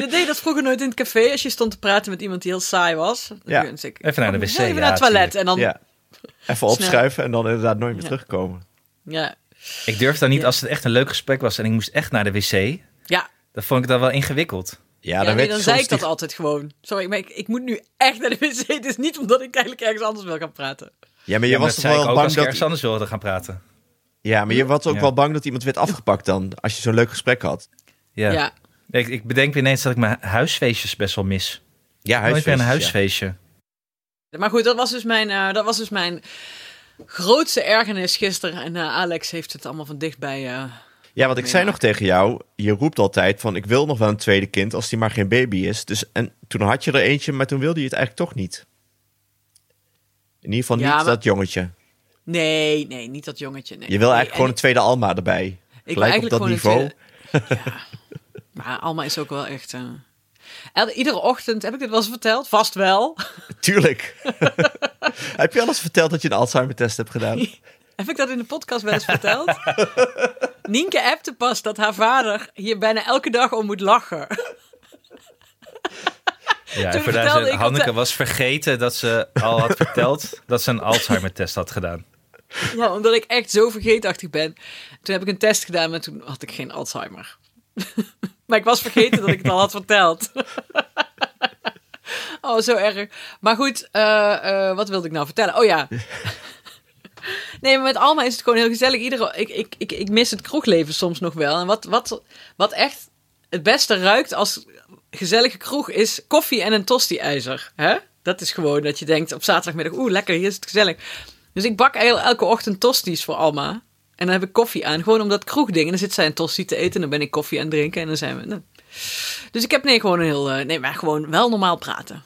S1: dat deed je dat vroeger nooit in het café. Als je stond te praten met iemand die heel saai was. Dan
S3: Ja.
S1: kun je zeggen,
S2: Even naar de
S1: kom,
S2: wc,
S1: Even
S2: ja,
S1: naar het toilet. En dan, ja.
S3: Ja. Even opschuiven en dan inderdaad nooit meer terugkomen.
S1: Ja.
S2: Ik durfde dan niet,
S1: Ja.
S2: als het echt een leuk gesprek was en ik moest echt naar de wc,
S1: Ja,
S2: dan vond ik dat wel ingewikkeld.
S3: Ja,
S1: ja,
S3: dan,
S1: dan,
S3: werd
S1: dan
S3: je
S1: zei
S3: soms
S1: ik dat
S3: die-
S1: altijd gewoon. Sorry, maar ik, ik moet nu echt naar de wc. Het is niet omdat ik eigenlijk ergens anders wil gaan praten.
S3: Ja, maar je
S2: Ja, maar
S3: was
S2: dat
S3: toch
S2: zei ik
S3: wel
S2: ook als
S3: bang
S2: ik
S3: dat.
S2: ergens anders wilde gaan praten.
S3: Ja, maar je was ook
S2: Ja.
S3: wel bang dat iemand werd afgepakt dan. Als je zo'n leuk gesprek had.
S2: Ja.
S1: ja.
S2: Ik, ik bedenk weer ineens dat ik mijn huisfeestjes best wel mis.
S3: Ja,
S2: Nooit
S3: huisfeest.
S2: weer een huisfeestje.
S1: Maar goed, dat was dus mijn, eh, dat was dus mijn grootste ergernis gisteren. En eh, Alex heeft het allemaal van dichtbij. eh,
S3: Ja. ja, want ik zei nog tegen jou: je roept altijd van: ik wil nog wel een tweede kind als die maar geen baby is. Dus en toen had je er eentje, maar toen wilde je het eigenlijk toch niet. In ieder geval
S1: Ja,
S3: niet
S1: maar-
S3: dat jongetje.
S1: nee, nee, niet dat jongetje. Nee.
S3: Je wil
S1: Nee,
S3: eigenlijk
S1: en
S3: gewoon een
S1: ik-
S3: tweede Alma erbij.
S1: wil
S3: Gelijk op
S1: eigenlijk
S3: dat
S1: gewoon een
S3: niveau.
S1: tweede- Maar Alma is ook wel echt. eh, el- iedere ochtend heb ik dit wel eens verteld, vast wel.
S3: Tuurlijk. Heb je alles verteld dat je een Alzheimer-test hebt gedaan?
S1: heb ik dat in de podcast wel eens verteld? Nienke appte pas dat haar vader hier bijna elke dag om moet lachen.
S2: Ja,
S1: Toen
S2: en voor de-
S1: vertelde ik op
S2: Hanneke
S1: de-
S2: was vergeten dat ze al had verteld dat ze een Alzheimer-test had gedaan.
S1: Ja, omdat ik echt zo vergeetachtig ben. Toen heb ik een test gedaan, maar toen had ik geen Alzheimer. maar ik was vergeten dat ik het al had verteld. oh, zo erg. Maar goed, eh, eh, wat wilde ik nou vertellen? Oh ja. Nee, maar met Alma is het gewoon heel gezellig. Iedere, ik, ik, ik, ik mis het kroegleven soms nog wel. En wat, wat, wat echt het beste ruikt als gezellige kroeg is koffie en een tosti-ijzer. Hè? Dat is gewoon dat je denkt op zaterdagmiddag, oeh, lekker, hier is het gezellig. Dus ik bak el- elke ochtend tosti's voor Alma. En dan heb ik koffie aan, gewoon om dat kroegding. En dan zit zij een tosti te eten en dan ben ik koffie aan het drinken. En dan zijn we... nou. Dus ik heb nee, gewoon een heel... eh, Nee, maar gewoon wel normaal praten.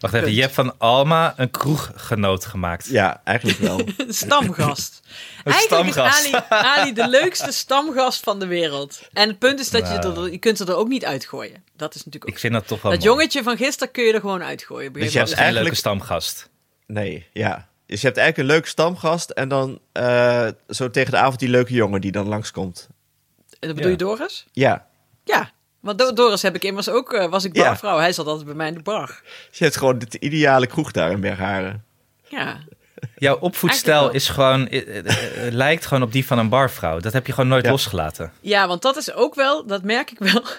S2: Wacht even,
S1: Punt.
S2: je hebt van Alma een kroeggenoot gemaakt.
S3: Ja, eigenlijk wel.
S1: stamgast. Eigenlijk is
S2: stamgast.
S1: Ali, Ali de leukste stamgast van de wereld. En het punt is dat je, het
S2: Nou.
S1: er, je kunt het er ook niet uitgooien. Dat is natuurlijk ook
S2: Ik vind dat toch wel
S1: Dat
S2: mooi.
S1: jongetje van gisteren kun je er gewoon uitgooien.
S3: Dus
S1: begrijp
S3: je
S1: je
S3: hebt
S2: was
S1: wat
S2: een
S3: eigenlijk-
S2: leuke stamgast.
S3: Nee, ja. Dus je hebt eigenlijk een leuke stamgast en dan eh, zo tegen de avond die leuke jongen die dan langskomt.
S1: ik- dat bedoel je
S2: Ja.
S1: Doris?
S3: Ja,
S1: Ja. Want Do- Doris heb ik immers ook, eh, was ik
S3: Ja.
S1: barvrouw. Hij zat altijd bij mij in de bar.
S3: dus je hebt gewoon het ideale kroeg daar in Bergharen.
S1: Ja.
S2: Jouw
S1: Eigenlijk
S2: opvoedstijl
S1: wel.
S2: is gewoon, eh, eh, eh, lijkt gewoon op die van een barvrouw. Dat heb je gewoon nooit
S3: Ja.
S2: losgelaten.
S1: ja, want dat is ook wel, dat merk ik wel.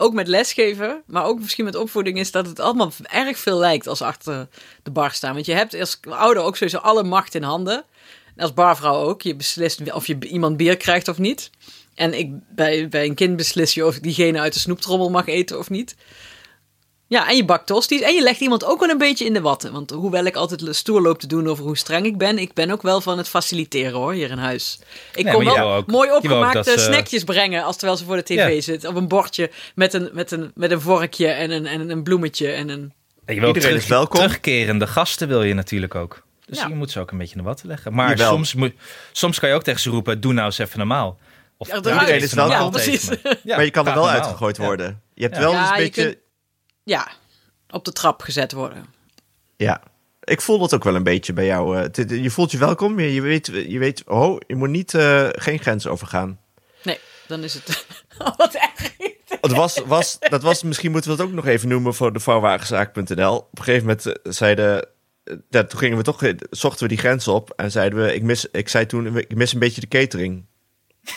S1: Ook met lesgeven, maar ook misschien met opvoeding, is dat het allemaal erg veel lijkt als achter de bar staan. Want je hebt als ouder ook sowieso alle macht in handen. En als barvrouw ook. Je beslist of je iemand bier krijgt of niet. En ik, bij, bij een kind beslis je of diegene uit de snoeptrommel mag eten of niet. Ja, en je bakt tosti's. En je legt iemand ook wel een beetje in de watten. Want hoewel ik altijd stoer loop te doen over hoe streng ik ben, ik ben ook wel van het faciliteren hoor, hier in huis. Ik
S2: Nee,
S1: kom
S2: maar je
S1: wel
S2: wil ook-
S1: mooi
S2: je wil ook
S1: opgemaakte
S2: dat ze-
S1: snackjes brengen als terwijl ze voor de tv
S2: Ja.
S1: zit. Op een bordje met een, met een, met een vorkje en een, en een bloemetje en een...
S2: Je wil ook
S3: Iedereen is welkom.
S2: Terugkerende gasten wil je natuurlijk ook. Dus
S1: Ja.
S2: je moet ze ook een beetje in de watten leggen. Maar
S3: Jawel.
S2: soms, moet, soms kan je ook tegen ze roepen, doe nou eens even normaal. Of
S1: Ja,
S2: "Doe
S1: eruit.
S2: nou eens
S3: Iedereen is
S2: even
S3: welkom.
S2: normaal
S1: Ja,
S2: tegen
S1: precies.
S2: me." Ja,
S3: maar je kan er
S2: praat
S3: wel
S2: normaal.
S3: uitgegooid
S2: Ja.
S3: worden. Je hebt
S2: Ja.
S3: wel dus
S1: Ja,
S3: een
S1: je
S3: beetje...
S1: kunt- Ja, op de trap gezet worden.
S3: Ja, ik voel dat ook wel een beetje bij jou. eh. Het- je voelt je welkom, je, je, weet, je weet... Oh, je moet niet, eh, geen grens overgaan.
S1: Nee, dan is het... Oh, Wat erg.
S3: Het was, was, dat was, misschien moeten we dat ook nog even noemen voor de vouwwagenzaak.nl. Op een gegeven moment eh, zeiden, eh, ja, toen gingen we toch, eh, zochten we die grens op en zeiden we, ik mis, ik zei toen, ik mis een beetje de catering.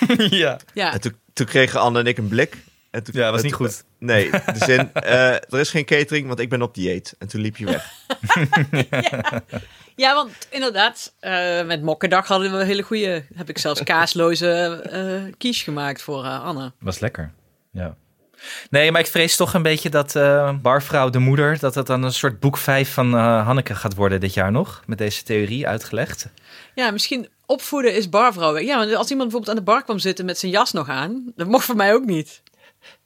S2: ja.
S1: Ja,
S3: En toen, toen kregen Anne en ik een blik. En toen,
S2: Ja, was
S3: en
S2: niet
S3: toen-
S2: goed.
S3: Nee, de zin, eh, er is geen catering, want ik ben op dieet. En toen liep je weg.
S1: ja want inderdaad, eh, met Mokkendag hadden we een hele goede... Heb ik zelfs kaasloze eh quiche gemaakt voor eh, Anne.
S2: Was lekker. Ja. Nee, maar ik vrees toch een beetje dat eh, Barvrouw de Moeder, dat dat dan een soort boek 5 van eh, Hanneke gaat worden dit jaar nog. Met deze theorie uitgelegd.
S1: Ja, misschien opvoeden is barvrouw. Ja, want als iemand bijvoorbeeld aan de bar kwam zitten met zijn jas nog aan, dat mocht voor mij ook niet.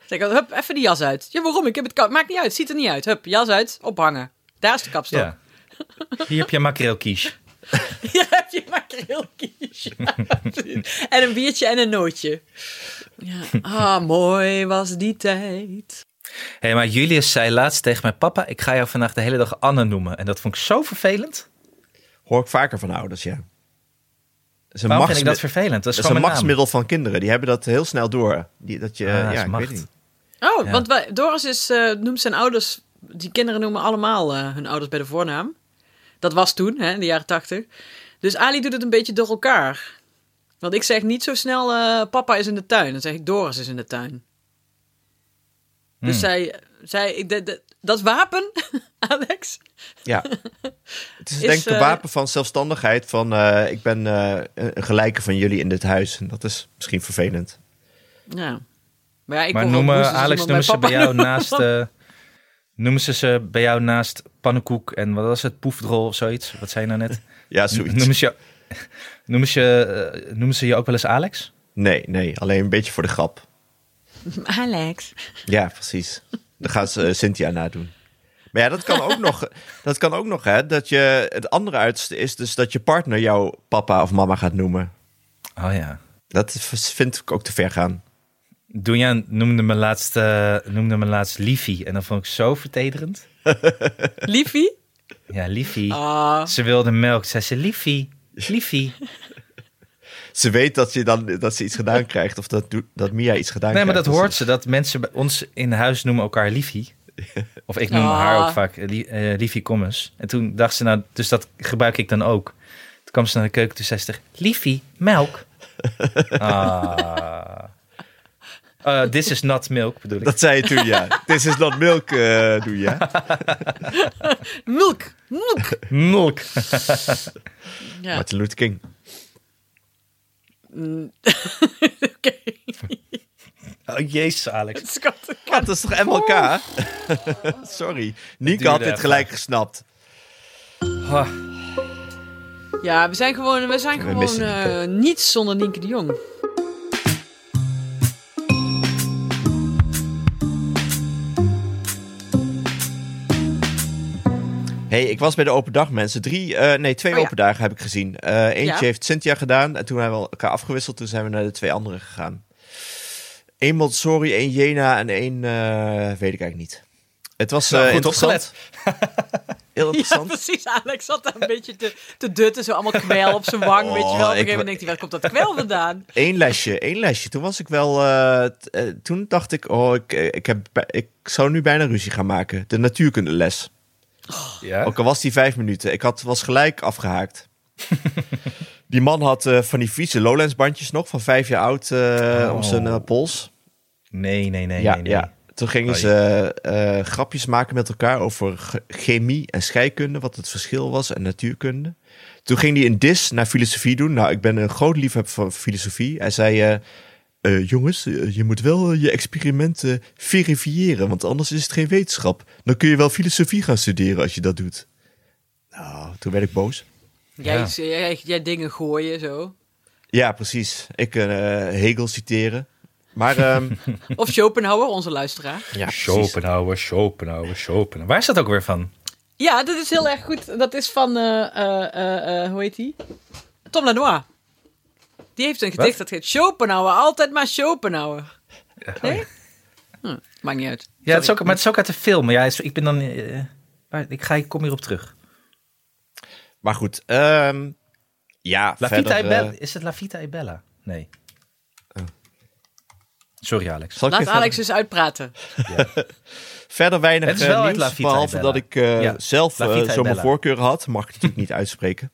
S1: Zeg ik, hup, even die jas uit. Ja, waarom? Ik heb het koud. Maakt niet uit, ziet er niet uit. Hup, jas uit, ophangen. Daar is de kapstok.
S2: Ja. Hier heb je een makreelkies.
S1: Hier heb je makreelkies. Ja, precies. en een biertje en een nootje. Ja. Ah, mooi was die tijd.
S2: Hé, maar Julius zei laatst tegen mijn papa, ik ga jou vandaag de hele dag Anne noemen. En dat vond ik zo vervelend.
S3: Hoor ik vaker van ouders, ja. Dat is een,
S2: Waarom vind ik
S3: machtsmi-
S2: dat vervelend? Dat is,
S3: dat is
S2: gewoon
S3: een
S2: mijn naam.
S3: machtsmiddel van kinderen. Die hebben dat heel snel door. Die, dat je,
S2: Ah, dat
S3: ja,
S2: is
S3: ik
S2: macht.
S3: weet niet.
S1: Oh,
S2: Ja.
S1: want wij- Doris is, eh, noemt zijn ouders, die kinderen noemen allemaal eh, hun ouders bij de voornaam. Dat was toen, hè, in de jaren tachtig. Dus Ali doet het een beetje door elkaar. Want ik zeg niet zo snel, eh, papa is in de tuin. Dan zeg ik, Doris is in de tuin.
S2: Hmm.
S1: Dus zij, zij ik, de- de- dat wapen, Alex,
S3: Ja. Het is denk ik een
S1: eh,
S3: wapen van zelfstandigheid. Van eh, ik ben eh, een gelijke van jullie in dit huis. En dat is misschien vervelend.
S1: Ja. Maar, ja, ik
S2: Maar
S1: kon wel
S2: noemen,
S1: boezem, dus
S2: Alex,
S1: iemand
S2: noemen ze
S1: papa
S2: bij jou
S1: noemen.
S2: naast... eh, noemen ze ze bij jou naast pannenkoek en wat was het, poefdrol of zoiets? Wat zei je nou net?
S3: Ja, zoiets.
S2: Noemen ze, jou- noemen, ze, eh, noemen ze je ook wel eens Alex?
S3: Nee, nee. Alleen een beetje voor de grap.
S1: Alex.
S3: Ja, precies. Dan gaan ze eh, Cynthia nadoen. Maar ja, dat kan ook nog. Dat kan ook nog, hè. Dat je, het andere uiterste is dus dat je partner jou papa of mama gaat noemen.
S2: Oh ja.
S3: Dat is- vind ik ook te ver gaan.
S2: Doenja noemde me laatst, eh, noemde me laatst Liefie. En dat vond ik zo vertederend.
S1: Liefie?
S2: Ja, Liefie.
S1: Ah,
S2: Ze wilde melk. Zei ze, Liefie, Liefie.
S3: Ze weet dat, je dan, dat ze iets gedaan krijgt. Of dat, doet- dat Mia iets gedaan
S2: Nee, maar
S3: krijgt.
S2: dat
S3: Dus
S2: hoort ze. Dat mensen bij ons in huis noemen elkaar Liefie. Of ik noem
S1: Ah.
S2: haar ook vaak eh, Lie- eh, Liefie Commons. En toen dacht ze, nou, dus dat gebruik ik dan ook. Toen kwam ze naar de keuken, toen zei ze, tegen, Liefie, melk. Ah. Eh, this is not milk, bedoel ik.
S3: Dat zei je toen, ja. This is not milk, eh doe je.
S1: milk. Milk.
S2: Milk.
S1: Ja.
S3: Martin Luther King.
S1: Mm. Oké,
S2: Oh, jezus, Alex.
S1: schattig.
S3: Wat, dat is toch MLK? Sorry. Nienke had
S2: duurde
S3: dit
S2: even.
S3: gelijk gesnapt.
S2: Ah.
S1: Ja, we zijn gewoon, we zijn
S3: We
S1: gewoon
S3: missen Nienke.
S1: eh, niets zonder Nienke de Jong.
S3: hey, ik was bij de open dag, mensen. Drie, eh, nee, twee
S1: Oh, ja.
S3: open dagen heb ik gezien. Eh, eentje
S1: Ja.
S3: heeft Cynthia gedaan. En toen hebben we elkaar afgewisseld. Toen zijn we naar de twee andere gegaan. Eén Montessori, één Jena en één... eh, weet ik eigenlijk niet. Het was eh
S2: Nou, goed
S3: interessant.
S2: opgelet.
S3: Heel
S1: Ja,
S3: interessant.
S1: precies. Alex zat daar een beetje te, te dutten. Zo allemaal kwel op zijn wang. weet je wel. Op een
S3: Oh,
S1: gegeven
S3: ik-
S1: moment denkt hij, waar komt dat kwel vandaan?
S3: Eén lesje, één lesje. Toen was ik wel. eh, t- eh, toen dacht ik, oh, ik, eh, ik, heb, bij- ik zou nu bijna ruzie gaan maken. De natuurkundeles.
S2: Ja.
S3: Ook al was die vijf minuten. Ik had, was gelijk afgehaakt. die man had eh, van die vieze Lowlands-bandjes nog, van vijf jaar oud, eh, om
S2: Oh.
S3: zijn eh, pols.
S2: Nee, nee, nee,
S3: ja,
S2: nee, nee.
S3: ja. Toen gingen
S2: Oei.
S3: ze eh, eh, grapjes maken met elkaar over ge- chemie en scheikunde, wat het verschil was en natuurkunde. Toen ging hij een dis naar filosofie doen. Nou, ik ben een groot liefhebber van filosofie. Hij zei: eh, eh, Jongens, eh, je moet wel eh, je experimenten verifiëren, want anders is het geen wetenschap. Dan kun je wel filosofie gaan studeren als je dat doet. Nou, toen werd ik boos.
S1: Jij,
S2: Ja.
S1: jij, jij dingen gooien zo.
S3: Ja, precies. Ik eh, Hegel citeren. Maar ehm,
S1: Of Schopenhauer, onze luisteraar.
S3: ja, precies.
S2: Schopenhauer, Schopenhauer, Schopenhauer. Waar is dat ook weer van?
S1: Ja, dat is heel erg goed. Dat is van, eh, eh, eh, eh, hoe heet die? Tom Lanois. Die heeft een gedicht dat heet Schopenhauer, altijd maar Schopenhauer. Nee? Hm, maakt niet uit.
S2: Ja, het is ook, maar het is ook uit de film. Ja, het is- ik ben dan... eh, maar ik, ga, ik kom hierop terug.
S3: Maar goed, ehm, ja,
S2: La
S3: verder,
S2: Vita e
S3: eh,
S2: Bella. Is het La Vita e Bella? Nee. Oh. Sorry, Alex.
S3: Zal ik
S1: Laat
S3: even-
S1: Alex eens uitpraten.
S3: Verder weinig
S2: Het is
S3: eh,
S2: wel uit La
S3: nieuws,
S2: Vita e
S3: behalve
S2: Bella.
S3: dat ik eh,
S2: Ja,
S3: zelf
S2: La
S3: eh,
S2: Vita e
S3: zo mijn
S2: Bella.
S3: voorkeur had. Mag ik natuurlijk niet uitspreken.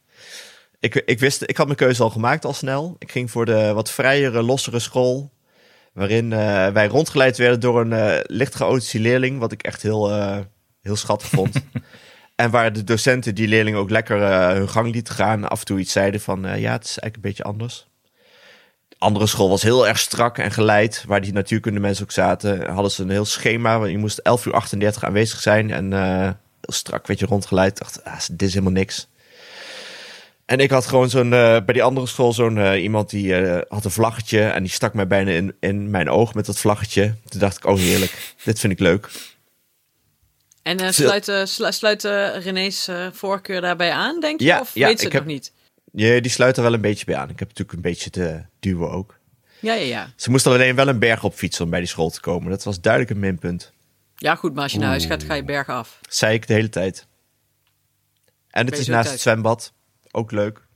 S3: Ik, ik, wist, ik had mijn keuze al gemaakt al snel. Ik ging voor de wat vrijere, lossere school. Waarin eh, wij rondgeleid werden door een eh licht geotische leerling. Wat ik echt heel, eh, heel schattig vond. en waar de docenten die leerling ook lekker eh, hun gang lieten gaan. Af en toe iets zeiden van eh, ja, het is eigenlijk een beetje anders. De andere school was heel erg strak en geleid. Waar die natuurkunde mensen ook zaten. Hadden ze een heel schema. want Je moest 11 uur 38 aanwezig zijn. En eh, heel strak werd je rondgeleid. Ik dacht, ah, dit is helemaal niks. En ik had gewoon zo'n, eh, bij die andere school zo'n eh, iemand die eh, had een vlaggetje en die stak mij bijna in, in mijn oog met dat vlaggetje. Toen dacht ik, oh heerlijk, dit vind ik leuk.
S1: En eh,
S3: Veel-
S1: sluit, eh, slu- sluit eh, René's eh, voorkeur daarbij aan, denk je?
S3: Ja,
S1: of
S3: ja,
S1: weet ze
S3: ik
S1: het
S3: heb-
S1: nog niet?
S3: Ja, die sluit er wel een beetje bij aan. Ik heb natuurlijk een beetje te duwen ook.
S1: Ja, ja, ja.
S3: Ze moest alleen wel een berg op fietsen om bij die school te komen. Dat was duidelijk een minpunt.
S1: Ja, goed, maar als je naar huis gaat, ga je bergaf.
S3: Dat zei ik de hele tijd. En het
S1: je
S3: is
S1: zo
S3: naast
S1: thuis?
S3: het zwembad. Ook leuk.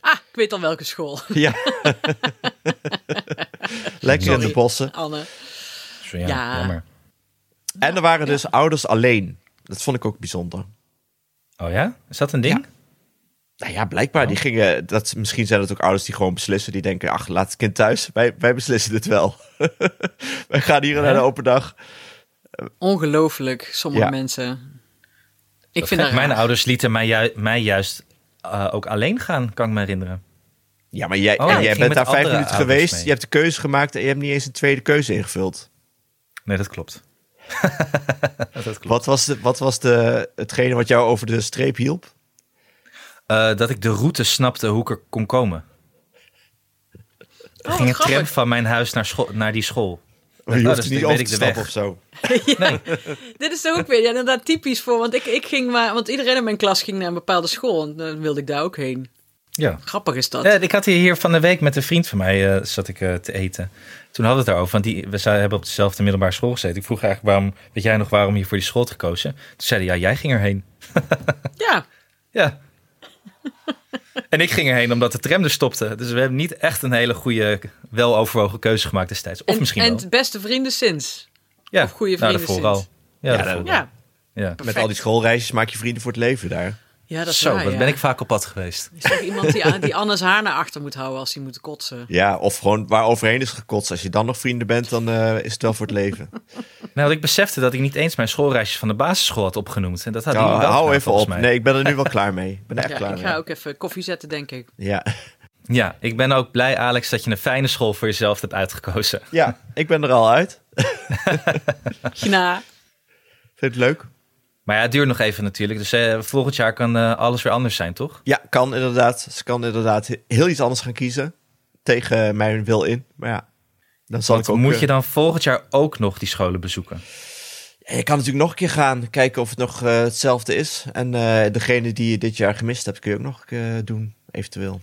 S1: Ah, ik weet al welke school,
S3: Ja. Lekker in
S1: Sorry.
S3: de bossen.
S1: Anne.
S2: Dus ja,
S1: Ja.
S2: jammer.
S3: En er waren dus ouders alleen. Dat vond ik ook bijzonder.
S2: Oh ja? Is dat een ding?
S3: Nou ja, blijkbaar. Die gingen, dat, misschien zijn het ook ouders die gewoon beslissen. Die denken, ach, laat het kind thuis. Wij, wij beslissen dit wel. wij gaan hier naar de open dag.
S1: Ongelooflijk, sommige
S3: Ja.
S1: mensen. Ik vind
S2: Dat gek.
S1: dat
S2: Mijn
S1: raar.
S2: ouders lieten mij, ju- mij juist eh, ook alleen gaan, kan ik me herinneren.
S3: Ja, maar jij,
S2: Oh,
S3: en
S2: ik
S3: jij
S2: ging
S3: bent
S2: met
S3: daar vijf
S2: andere
S3: minuten
S2: ouders
S3: geweest.
S2: mee.
S3: Je hebt de keuze gemaakt en je hebt niet eens een tweede keuze ingevuld.
S2: Nee, dat klopt. dat klopt.
S3: Wat was, de, wat was de, hetgene wat jou over de streep hielp?
S2: Oh, Eh, dat ik de route snapte hoe ik er kon komen.
S1: Oh, wat
S2: Er ging een
S1: grappig.
S2: tram van mijn huis naar, school, naar die school.
S3: Je hoeft
S2: Nou,
S3: er
S2: dus
S3: niet
S2: dan
S3: over
S2: weet
S3: te
S2: ik de
S3: stappen
S2: weg.
S3: of zo.
S1: Dit is toch ook weer ja, inderdaad typisch voor, want ik, ik ging maar, want iedereen in mijn klas ging naar een bepaalde school en dan wilde ik daar ook heen.
S2: Ja.
S1: Grappig is dat.
S2: Eh, ik had hier, hier van de week met een vriend van mij eh, zat ik eh, te eten. Toen hadden we het erover, want die, we zou- hebben op dezelfde middelbare school gezeten. Ik vroeg eigenlijk, waarom, weet jij nog waarom je voor die school had gekozen? Toen zei hij, ja, jij ging erheen.
S1: Ja,
S2: Ja. en ik ging erheen omdat de tram er stopte. Dus we hebben niet echt een hele goede, weloverwogen keuze gemaakt destijds. Of
S1: en,
S2: misschien
S1: en
S2: wel.
S1: beste vrienden sinds.
S2: Ja,
S1: of goede
S2: nou,
S1: vrienden
S2: daarvoor
S1: sinds.
S2: al. Ja,
S3: Ja,
S2: daarvoor al.
S3: dat-
S1: Ja,
S2: ja.
S3: Met al die schoolreisjes maak je vrienden voor het leven daar.
S1: ja dat is
S2: Zo,
S1: waar,
S2: wat
S1: ja.
S2: ben ik vaak op pad geweest.
S1: Is toch iemand die, die Anne's haar naar achter moet houden als hij moet kotsen?
S3: Ja, of gewoon waar overheen is gekotst. Als je dan nog vrienden bent, dan eh, is het wel voor het leven.
S2: Nou, ik besefte dat ik niet eens mijn schoolreisjes van de basisschool had opgenoemd. En dat had
S3: Ja,
S2: jullie wel
S3: hou
S2: gedaan,
S3: even
S2: volgens
S3: op.
S2: mij.
S3: Nee, ik ben er nu wel klaar mee. Ik ben er echt
S1: Ja,
S3: klaar
S1: ik
S3: mee.
S1: ga ook even koffie zetten, denk ik.
S3: Ja.
S2: Ja, ik ben ook blij, Alex, dat je een fijne school voor jezelf hebt uitgekozen.
S3: ja, ik ben er al uit.
S1: Gna.
S3: Vind je het leuk?
S2: Maar ja, het duurt nog even natuurlijk. Dus eh, volgend jaar kan eh, alles weer anders zijn, toch?
S3: Ja, kan inderdaad. Ze kan inderdaad heel iets anders gaan kiezen. Tegen mijn wil in. Maar ja, dan zal
S2: Want
S3: ik ook...
S2: moet
S3: eh,
S2: je dan volgend jaar ook nog die scholen bezoeken?
S3: En je kan natuurlijk nog een keer gaan kijken of het nog eh, hetzelfde is. En eh, degene die je dit jaar gemist hebt, kun je ook nog een keer doen, eventueel.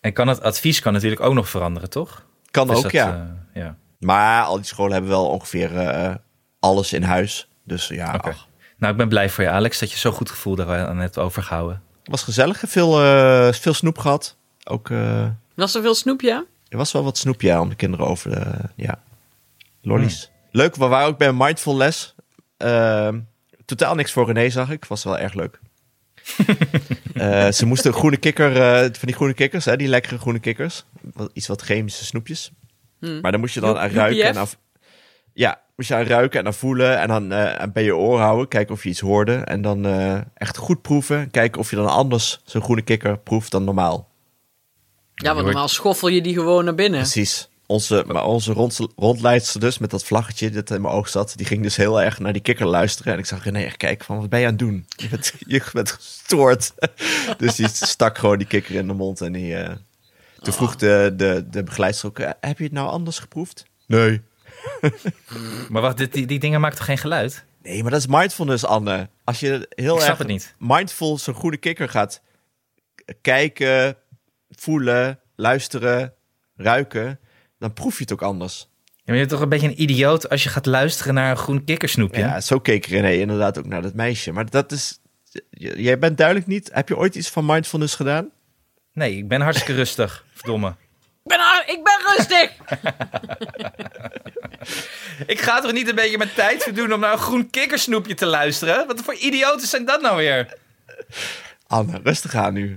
S2: En kan het advies kan natuurlijk ook nog veranderen, toch?
S3: Kan
S2: Of is
S3: ook,
S2: dat,
S3: ja.
S2: eh, ja.
S3: Maar al die scholen hebben wel ongeveer eh, alles in huis. Dus ja,
S2: Oké.
S3: ach,
S2: Nou, ik ben blij voor je, Alex, dat je zo'n goed gevoel daar aan hebt overgehouden.
S3: was gezellig. Veel, eh, veel snoep gehad. Ook, eh,
S1: Was er veel snoep, ja?
S3: er was wel wat snoep, ja, om de kinderen over de... ja, lollies. Leuk, we waren ook bij een mindful les. Ehm, totaal niks voor René, zag ik. Was wel erg leuk. Eh, ze moesten een groene kikker, eh, van die groene kikkers, hè, die lekkere groene kikkers. Wat- Iets wat chemische snoepjes. Maar dan moest je dan aan
S1: Joep-
S3: ruiken en
S1: joepie
S3: af... Ja, moest je aan ruiken en aan voelen en dan eh, en bij je oor houden. Kijken of je iets hoorde. En dan eh, echt goed proeven. Kijken of je dan anders zo'n groene kikker proeft dan normaal.
S1: Ja, want normaal schoffel je die gewoon naar binnen.
S3: Precies. Onze, maar onze rond, rondleidster dus, met dat vlaggetje dat in mijn oog zat, die ging dus heel erg naar die kikker luisteren. En ik zag René echt kijken van, wat ben je aan het doen? Je bent, je bent gestoord. dus die stak gewoon die kikker in de mond en die... eh,
S2: Ah.
S3: toen vroeg de, de, de begeleidster ook, eh, heb je het nou anders geproefd? Nee.
S2: Maar wacht, dit, die, die dingen maken toch geen geluid?
S3: Nee, maar dat is mindfulness, Anne. Als je heel
S2: Ik snap
S3: erg
S2: het niet.
S3: mindful zo'n goede kikker gaat k- kijken, voelen, luisteren, ruiken, dan proef je het ook anders.
S2: Ja, maar je bent toch een beetje een idioot als je gaat luisteren naar een groen kikkersnoepje?
S3: Ja, zo keek René inderdaad ook naar dat meisje. Maar dat is... j- Jij bent duidelijk niet... Heb je ooit iets van mindfulness gedaan?
S2: Nee, ik ben hartstikke rustig. Verdomme.
S1: Ik ben, ar- ik ben rustig!
S2: Ik ga toch niet een beetje mijn tijd verdoen om naar een groen kikkersnoepje te luisteren? Wat voor idioten zijn dat nou weer?
S3: Anne, rustig aan nu.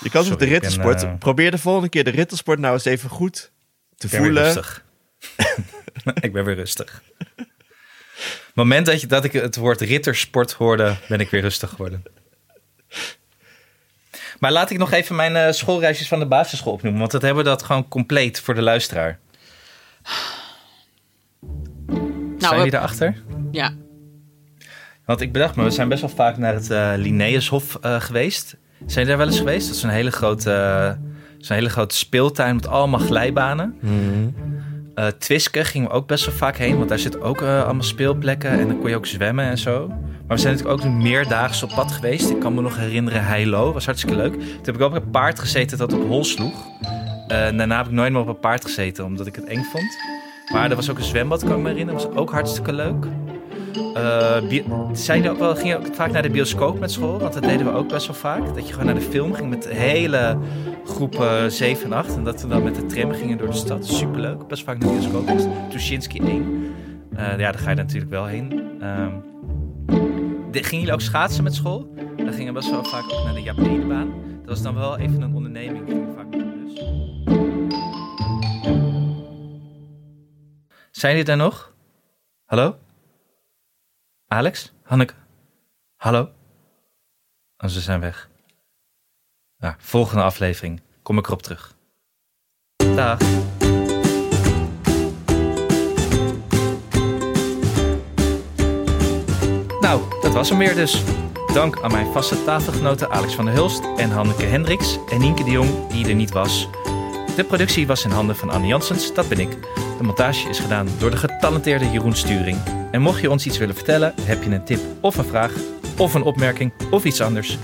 S3: Je
S2: Sorry,
S3: kan op de
S2: ik ben,
S3: rittersport...
S2: eh,
S3: Probeer de volgende keer de rittersport nou eens even goed te
S2: Ik ben weer
S3: voelen.
S2: rustig. ik ben weer rustig. Moment dat, je, dat ik het woord rittersport hoorde, ben ik weer rustig geworden. Maar laat ik nog even mijn eh, schoolreisjes van de basisschool opnoemen. Want dat hebben we dat gewoon compleet voor de luisteraar. zijn
S1: Nou,
S2: jullie daarachter?
S1: ja.
S2: Want ik bedacht me, we zijn best wel vaak naar het eh Linnaeushof eh, geweest. Zijn jullie daar wel eens geweest? Dat is een hele grote, eh, zo'n hele grote speeltuin met allemaal glijbanen. Eh Twiske gingen we ook best wel vaak heen, want daar zitten ook eh, allemaal speelplekken en dan kon je ook zwemmen en zo. Maar we zijn natuurlijk ook meerdaags op pad geweest. Ik kan me nog herinneren, Heilo was hartstikke leuk. Toen heb ik ook op een paard gezeten dat op hol sloeg. Eh, en daarna heb ik nooit meer op een paard gezeten, omdat ik het eng vond. Maar er was ook een zwembad, kan ik me herinneren, was ook hartstikke leuk. Eh, bio- zijn er ook wel, ging je ook vaak naar de bioscoop met school? Want dat deden we ook best wel vaak. Dat je gewoon naar de film ging met de hele groep eh, 7 en 8. En dat we dan met de tram gingen door de stad. Superleuk. Best vaak naar de bioscoop. geweest. Tuschinski 1. Eh, ja, daar ga je dan natuurlijk wel heen. Ehm, de- gingen jullie ook schaatsen met school? Dan gingen we best wel vaak ook naar de Japanebaan. Dat was dan wel even een onderneming. Gingen we vaak met de bus. Zijn jullie daar nog? Hallo? Alex? Hanneke? Hallo? Oh, ze zijn weg. Nou, volgende aflevering kom ik erop terug. Dag. Nou, dat was hem weer dus. Dank aan mijn vaste tafelgenoten Alex van der Hulst en Hanneke Hendricks en Nienke de Jong, die er niet was. De productie was in handen van Anne Janssens, dat ben ik. De montage is gedaan door de getalenteerde Jeroen Sturing. En mocht je ons iets willen vertellen, heb je een tip of een vraag, of een opmerking, of iets anders,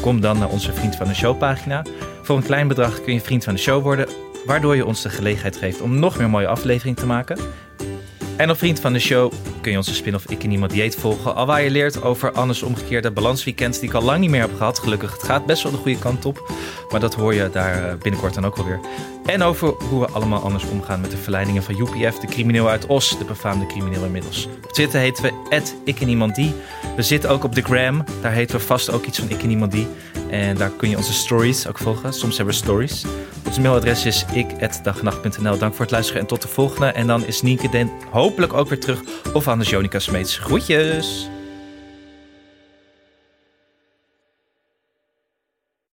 S2: kom dan naar onze Vriend van de Show pagina. Voor een klein bedrag kun je Vriend van de Show worden, waardoor je ons de gelegenheid geeft om nog meer mooie afleveringen te maken. En op Vriend van de Show kun je onze spin-off Ik en Niemand Dieet volgen. Alwaar je leert over Anne's omgekeerde balansweekend, die ik al lang niet meer heb gehad. Gelukkig, het gaat best wel de goede kant op. Maar dat hoor je daar eh, binnenkort dan ook alweer. En over hoe we allemaal anders omgaan met de verleidingen van UPF, de crimineel uit Os, de befaamde crimineel inmiddels. Op Twitter heten we Ik en Iemand Die. We zitten ook op de Gram, daar heten we vast ook iets van Ik en Iemand Die. En daar kun je onze stories ook volgen. Soms hebben we stories. Ons mailadres is ik@dagnacht.nl. Dank voor het luisteren en tot de volgende. En dan is Nienke Den hopelijk ook weer terug. Of aan de Jonica Smeets. Groetjes!